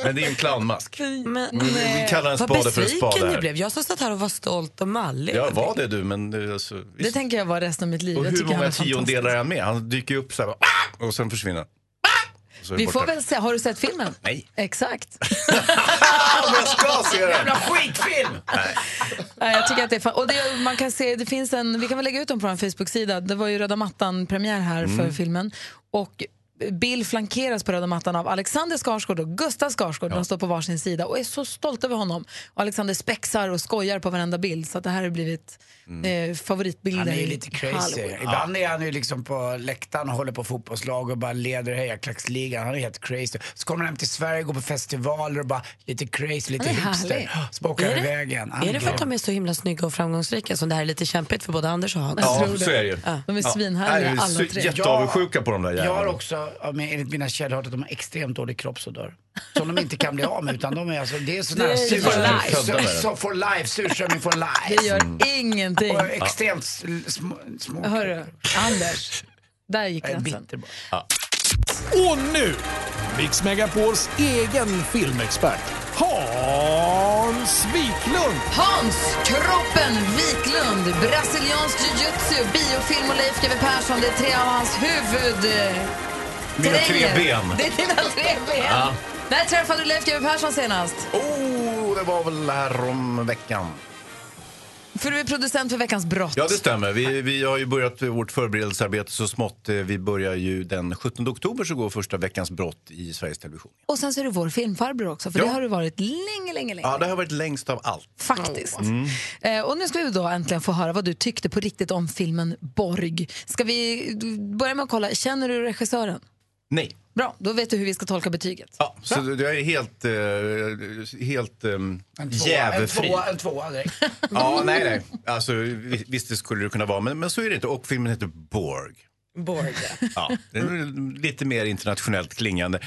R: Men det är ju en clownmask.
C: Men,
R: Vi- vi
C: nej.
R: kallar en
C: Vad
R: Mm. spade för en
C: besviken
R: spade
C: du
R: här.
C: blev. Jag som satt här och var stolt och mallig.
R: Ja, var det du, men eh, alltså,
B: Det tänker jag vara resten av mitt liv.
R: Och
B: jag
R: hur
B: tycker han
R: många
B: är fantastisk.
R: tiondelar är han med? Han dyker upp så här bara, "Ah!" och sen försvinner han. Och så är
B: Vi
R: det
B: får
R: borta.
B: väl se. Har du sett filmen?
R: Nej.
B: Exakt.
R: Ah, men jag ska se den!
E: Jävla skitfilm!
B: Nej, Jag tycker att det är fan... Och det, man kan se, det finns en, vi kan väl lägga ut dem på vår Facebook-sida. Det var ju röda mattan-premiär här
S: Mm.
B: för filmen. Och Bill flankeras på röda mattan av Alexander Skarsgård och Gustav Skarsgård. De står på varsin sida och är så stolta över honom. Och Alexander spexar och skojar på varenda bild. Så att det här har blivit eh, favoritbilder.
E: Mm. Han är
B: i
E: ju lite crazy.
B: Hollywood.
E: Ibland är han ju liksom på läktaren och håller på fotbollslag och bara leder hejarklacksligan. Han är helt crazy. Så kommer han hem till Sverige, går på festivaler och bara lite crazy, lite
C: Han är
E: hipster.
C: härlig.
E: Så bara åker han
C: Är det-
E: iväg igen. Han
C: Är det för
E: grym.
C: att de är så himla snygga och framgångsrika som det här är lite kämpigt för både Anders och Hans?
R: Ja, så är det ju.
C: Ja.
B: De är
R: Ja.
B: svinhärliga,
R: Nej, vi är
B: alla
R: så
B: tre.
R: Jätteavundsjuka på de där
E: Jag har
R: jävlarna.
E: också, ja, men enligt mina källor, hört att de har extremt dålig kroppsodör. Som de inte kan bli av med utan de är alltså, det är sån
B: Det
E: här
B: är
E: surströmming
B: för life.
E: Så, så for life, surströmming for life.
B: Det gör ingenting.
E: Och extremt sl- små, små
B: Hörru, Anders. Där gick gränsen.
T: Och nu, Mix Megapols egen filmexpert, Hans Wiklund.
B: Hans Kroppen Wiklund, brasiliansk jiu-jitsu, biofilm och Leif GW Persson. Det är tre av hans huvud... eh,
R: Mina tre
B: terränger.
R: ben.
B: Det är dina tre ben.
R: Ja.
B: När träffade du Leif GW Persson senast?
R: Oh, det var väl häromveckan.
B: För du är producent för Veckans brott.
R: Ja, det stämmer. Vi, vi har ju börjat vårt förberedelsearbete så smått. Eh, Vi börjar ju den 17 oktober så går första veckans brott i Sveriges Television.
B: Och sen så är du vår filmfarbror också, för
R: Ja.
B: det har du varit länge, länge, länge.
R: Ja, det har varit längst av allt.
B: Faktiskt.
R: Mm.
B: Eh, och nu ska vi då äntligen få höra vad du tyckte på riktigt om filmen Borg. Ska vi börja med att kolla, känner du regissören?
R: Nej.
B: Bra, då vet du hur vi ska tolka betyget.
R: Ja, så du du är helt, eh, helt um,
E: en
R: jävefri.
E: tvåa, en tvåa direkt.
R: Ja, nej, nej. Alltså, vi- visst det skulle det kunna vara, men, men så är det inte. Och filmen heter Borg.
C: Borg.
R: Ja, det är lite mer internationellt klingande.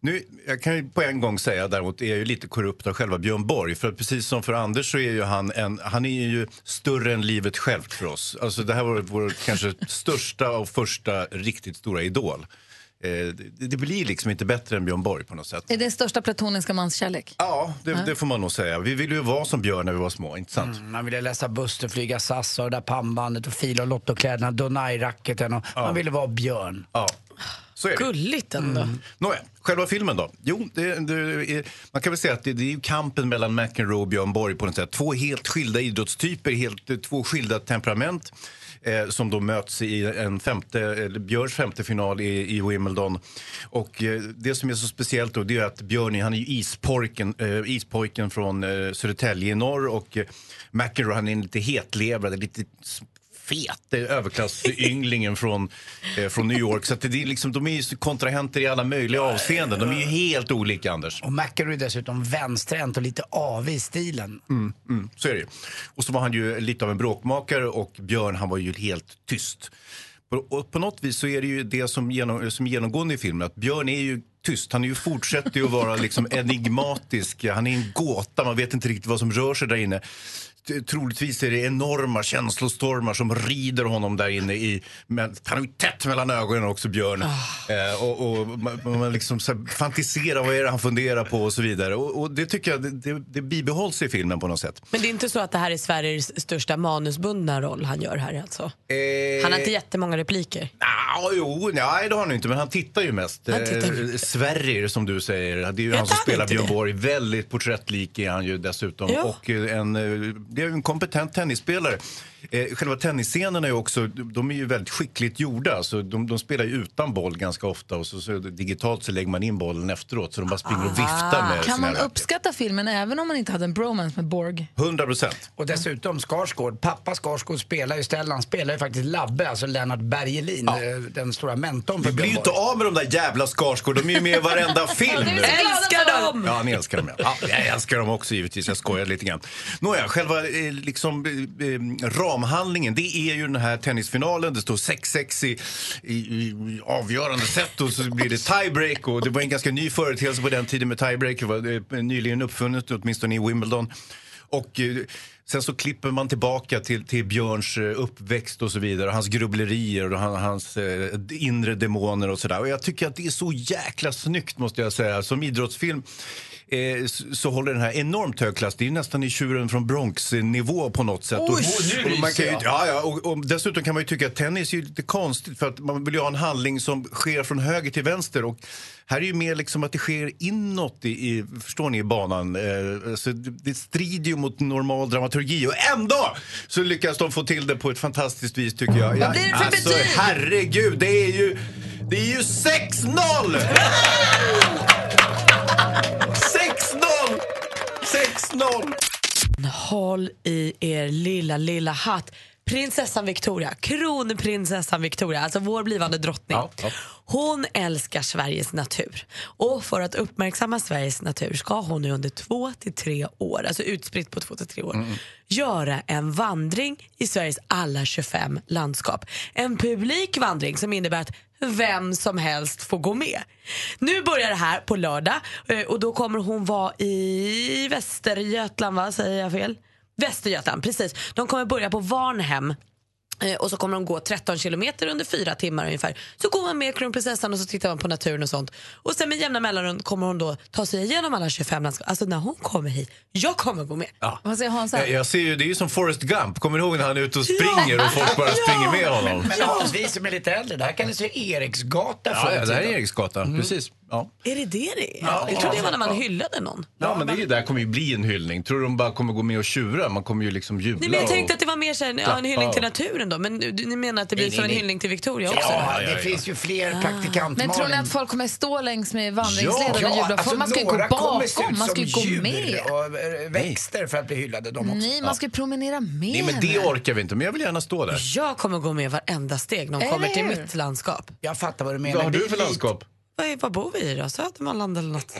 R: Nu, jag kan ju på en gång säga däremot, är jag ju lite korrupt av själva Björn Borg. För att precis som för Anders så är ju han, en, han är ju större än livet självt för oss. Alltså det här var vår kanske största och första riktigt stora idol. Eh, det, det blir liksom inte bättre än Björn Borg på något sätt.
B: Är det den största platoniska manskärlek?
R: Ja, Det, det får man nog säga. Vi ville ju vara som Björn när vi var små, inte sant?
E: Mm, Man ville läsa Buster, flyga SAS och det där pannbandet och fila och lottokläderna, Donai-racketen och man ville vara Björn.
R: Ja. Så är Gulligt
B: ändå.
R: Nåja, själva filmen då? Jo, det, det är, man kan väl säga att det, det är ju kampen mellan McEnroe och Björn Borg på något sätt. Två helt skilda idrottstyper, helt, eh, två skilda temperament eh, som då möts i en femte, eller Björns femte final i, i Wimbledon. Och eh, det som är så speciellt då, det är att Björn han är ju isporken, eh, ispojken från eh, Södertälje i norr och eh, McEnroe han är en lite hetlevrad, lite s- fet eh, överklasssynglingen från, eh, från New York. Så att det är liksom, de är ju kontrahenter i alla möjliga avseenden. De är ju helt olika, Anders.
E: Och McEnroe är dessutom vänsterhänt och lite avig i stilen.
R: Mm, mm, så är det ju. Och så var han ju lite av en bråkmakare och Björn han var ju helt tyst. På- Och på något vis så är det ju det som, genom, som är genomgående i filmen att Björn är ju tyst. Han är ju fortsätter ju att vara liksom enigmatisk. Han är en gåta, man vet inte riktigt vad som rör sig där inne. T- Troligtvis är det enorma känslostormar som rider honom där inne. I, men han är ju tätt mellan ögonen också, Björn. Eh, och, och man, man liksom så här fantiserar, vad är det han funderar på och så vidare. Och, och det tycker jag, det, det, det bibehålls i filmen på något sätt.
C: Men det är inte så att det här är Sveriges största manusbundna roll han gör här alltså? Han har inte jättemånga repliker.
R: Ah, jo, nej det har han ju inte, men han tittar ju mest.
C: Han tittar.
R: Eh, Sverrir som du säger, det är ju
C: Heter
R: han som
C: han
R: spelar
C: inte
R: Björn
C: det?
R: Borg. Väldigt porträttlik är han ju dessutom.
C: Ja.
R: Och eh, en, eh, det är ju en kompetent tennisspelare. Eh, själva tennisscenerna är ju också, de är ju väldigt skickligt gjorda. Så de, de spelar ju utan boll ganska ofta och så, så digitalt så lägger man in bollen efteråt så de bara springer och viftar med
B: Ah. Kan
R: sina
B: man
R: racket.
B: uppskatta filmen även om man inte hade en bromance med Borg?
R: 100 procent.
E: Och dessutom Skarsgård, pappa Skarsgård spelar ju Stellan, spelar ju faktiskt Labbe, alltså Lennart Bergelin, eh, den stora mentorn för
R: Vi blir ju
E: Björn
R: inte
E: Borg.
R: av med de där jävla Skarsgård, de är ju med i varenda film.
E: Ja, det är vi så glada
C: Älskar dem!
R: Ja, ni älskar dem. Ja. Ja, jag älskar dem också givetvis, jag skojar lite grann. Nåja, själva eh, liksom, eh, eh, ramhandlingen, det är ju den här tennisfinalen. Det står 6-6 i, i, i avgörande set och så blir det tiebreak. Och det var en ganska ny företeelse på den tiden med tiebreak. Det var eh, nyligen uppfunnet, åtminstone i Wimbledon. Och eh, sen så klipper man tillbaka till, till Björns eh, uppväxt och så vidare. Hans grubblerier och han, hans eh, inre demoner och sådär. Och jag tycker att det är så jäkla snyggt måste jag säga. Som idrottsfilm eh, s- så håller den här enormt hög klass. Det är ju nästan i tjuren från Bronx-nivå på något sätt.
J: Oj, nu
R: och man kan ju,
J: ryser jag.
R: ja, ja, och, och dessutom kan man ju tycka att tennis är ju lite konstigt för att man vill ju ha en handling som sker från höger till vänster. Och här är ju mer liksom att det sker inåt i, i, förstår ni, i banan. Eh, så det, det strider ju mot normal dramaturgi och ändå så lyckas de få till det på ett fantastiskt vis tycker jag.
J: Vad blir det för
R: alltså,
J: betyg?
R: herregud, det är ju, det är ju 6-0! 6-0! 6-0!
C: Håll i er lilla, lilla hatt. Prinsessan Victoria, kronprinsessan Victoria, alltså vår blivande drottning. Hon älskar Sveriges natur. Och för att uppmärksamma Sveriges natur ska hon nu under två till tre år, alltså utspritt på två till tre år, göra en vandring i Sveriges alla 25 landskap. En publik vandring som innebär att vem som helst får gå med. Nu börjar det här på lördag eh, och då kommer hon vara i Västergötland, va? Säger jag fel? Västergötland, precis. De kommer börja på Varnhem Eh, Och så kommer de gå 13 kilometer under fyra timmar ungefär. Så går man med kronprinsessan och så tittar man på naturen och sånt. Och sen med jämna mellanrum kommer hon då ta sig igenom alla 25 landskap. Alltså när hon kommer hit, jag kommer gå med.
B: Vad säger Hansa?
R: Eh, Jag, jag ser ju, det är ju som Forrest Gump. Kommer du ihåg när han är ute och springer och folk bara springer med honom?
E: Men Hans, vi som är lite äldre, det här kallades ju Eriksgata
R: Ja,
E: förr i
R: ja, det här är
E: tiden.
R: Eriksgata. Precis. Ja.
C: Är det det det är?
R: Ja.
C: jag trodde det var när man
R: Ja.
C: hyllade någon.
R: Ja, men det är ju- det här kommer ju bli en hyllning. Tror du de bara kommer gå med och tjura? Man kommer ju liksom jubla.
C: Nej, men jag
R: och-
C: tänkte att det var mer så här, ja, en hyllning
R: Klappa.
C: till naturen då. Men du- ni menar att det blir
R: Nej, nej,
C: som en
R: nej.
C: hyllning till Victoria också?
E: Ja,
R: Ja, ja,
E: det
R: ja.
E: finns ju fler praktikant
B: Ah. Men tror ni
E: Malin.
B: att folk kommer stå längs med vandringsleden och jubla?
E: alltså,
B: För man ska ju gå
E: några kommer se
B: bakom,
E: ut
B: man ska ju
E: som
B: gå
E: djur
B: med.
E: och eh, växter för att bli hyllade de också.
B: Nej, man ska ju promenera med.
R: Nej, men det orkar vi inte. Men jag vill gärna stå där.
C: Jag kommer gå med varenda steg när hon
B: Eller
C: kommer till
B: hur?
C: mitt landskap.
E: Jag fattar vad du
R: Vad har du för landskap?
C: Vad, är- vad bor vi i då? Södermanland eller något?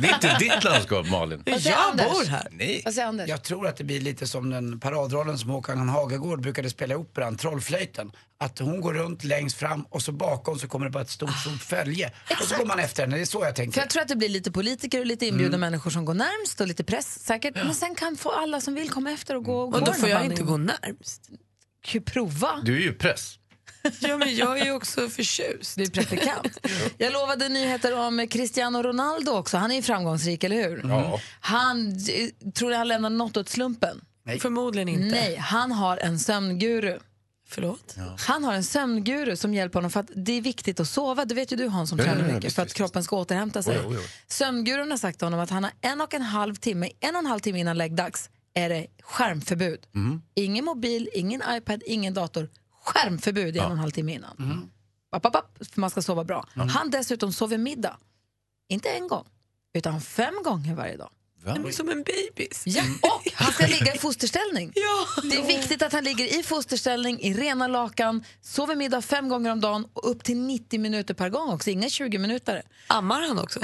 R: Det är inte ditt landskap, Malin.
E: Vad säger Jag Anders? bor
C: här.
R: Nej.
B: Vad säger Anders?
E: Jag tror att det blir lite som den paradrollen som Håkan Hagegård brukade spela i operan, Trollflöjten. Att hon går runt längst fram och så bakom så kommer det bara ett stort, stort följe. Och så går man efter henne, det är så jag
B: För
E: tänker.
B: jag tror att det blir lite politiker och lite inbjudna
E: Mm.
B: människor som går närmst och lite press säkert. Men sen kan få alla som vill komma efter och gå
C: Och då får jag inte gå närmst.
B: Kan ju prova.
R: Du är ju press.
C: Ja, men jag är ju också förtjust.
B: Du är praktikant. Jag lovade nyheter om Cristiano Ronaldo också. Han är ju framgångsrik, eller hur?
C: Ja.
B: Han, eh, tror ni han lämnar något åt slumpen?
E: Nej.
C: Förmodligen inte.
B: Nej, han har en sömnguru.
C: Förlåt?
B: Han har en sömnguru som hjälper honom för att det är viktigt att sova. Det vet ju du Hans som
C: Ja,
B: tränar
C: ja, ja,
B: mycket för att kroppen ska återhämta sig.
C: Oj, oj, oj.
B: Sömngurun har sagt till honom att han har en och en halv timme, en och en halv timme innan läggdags är det skärmförbud.
C: Mm.
B: Ingen mobil, ingen iPad, ingen dator. Skärmförbud i en och en halv timme innan.
C: Mm.
B: App, app, app, för man ska sova bra.
U: Mm.
B: Han dessutom sover middag. Inte en gång, utan fem gånger varje dag.
C: Han blir som en bebis.
B: Ja, och han ska ligga i fosterställning.
C: Ja.
B: Det är viktigt att han ligger i fosterställning, i rena lakan, sover middag fem gånger om dagen och upp till 90 minuter per gång också, inga 20 minuter.
C: Ammar han också?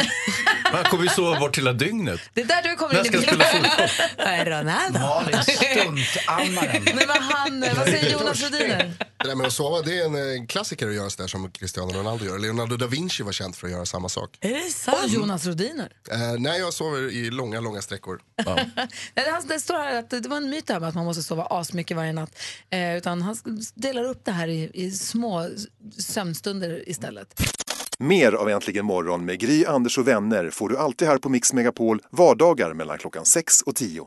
V: Man kommer ju sova bort hela dygnet.
B: Det är där du kommer
V: När
B: in i
V: ska jag
B: bilden.
V: spela fotboll?
B: Nej, Ronaldo.
V: Malin,
W: stuntammaren.
B: Nej, men han, eh, vad säger Jonas
R: Törstig.
B: Rhodiner?
R: Det där med att sova det är en eh, klassiker att göra sådär som Cristiano Ronaldo gör. Leonardo da Vinci var känd för att göra samma sak.
B: Är det sant? Och Jonas Rhodiner.
R: Eh, nej, jag sover i långa, långa sträckor.
B: Nej, det, han- det står här att det det var en myt det här med att man måste sova asmycket varje natt. Eh, utan han delar upp det här i, i små sömnstunder istället.
X: Mer av Äntligen morgon med Gry, Anders och vänner får du alltid här på Mix Megapol vardagar mellan klockan 6 och 10.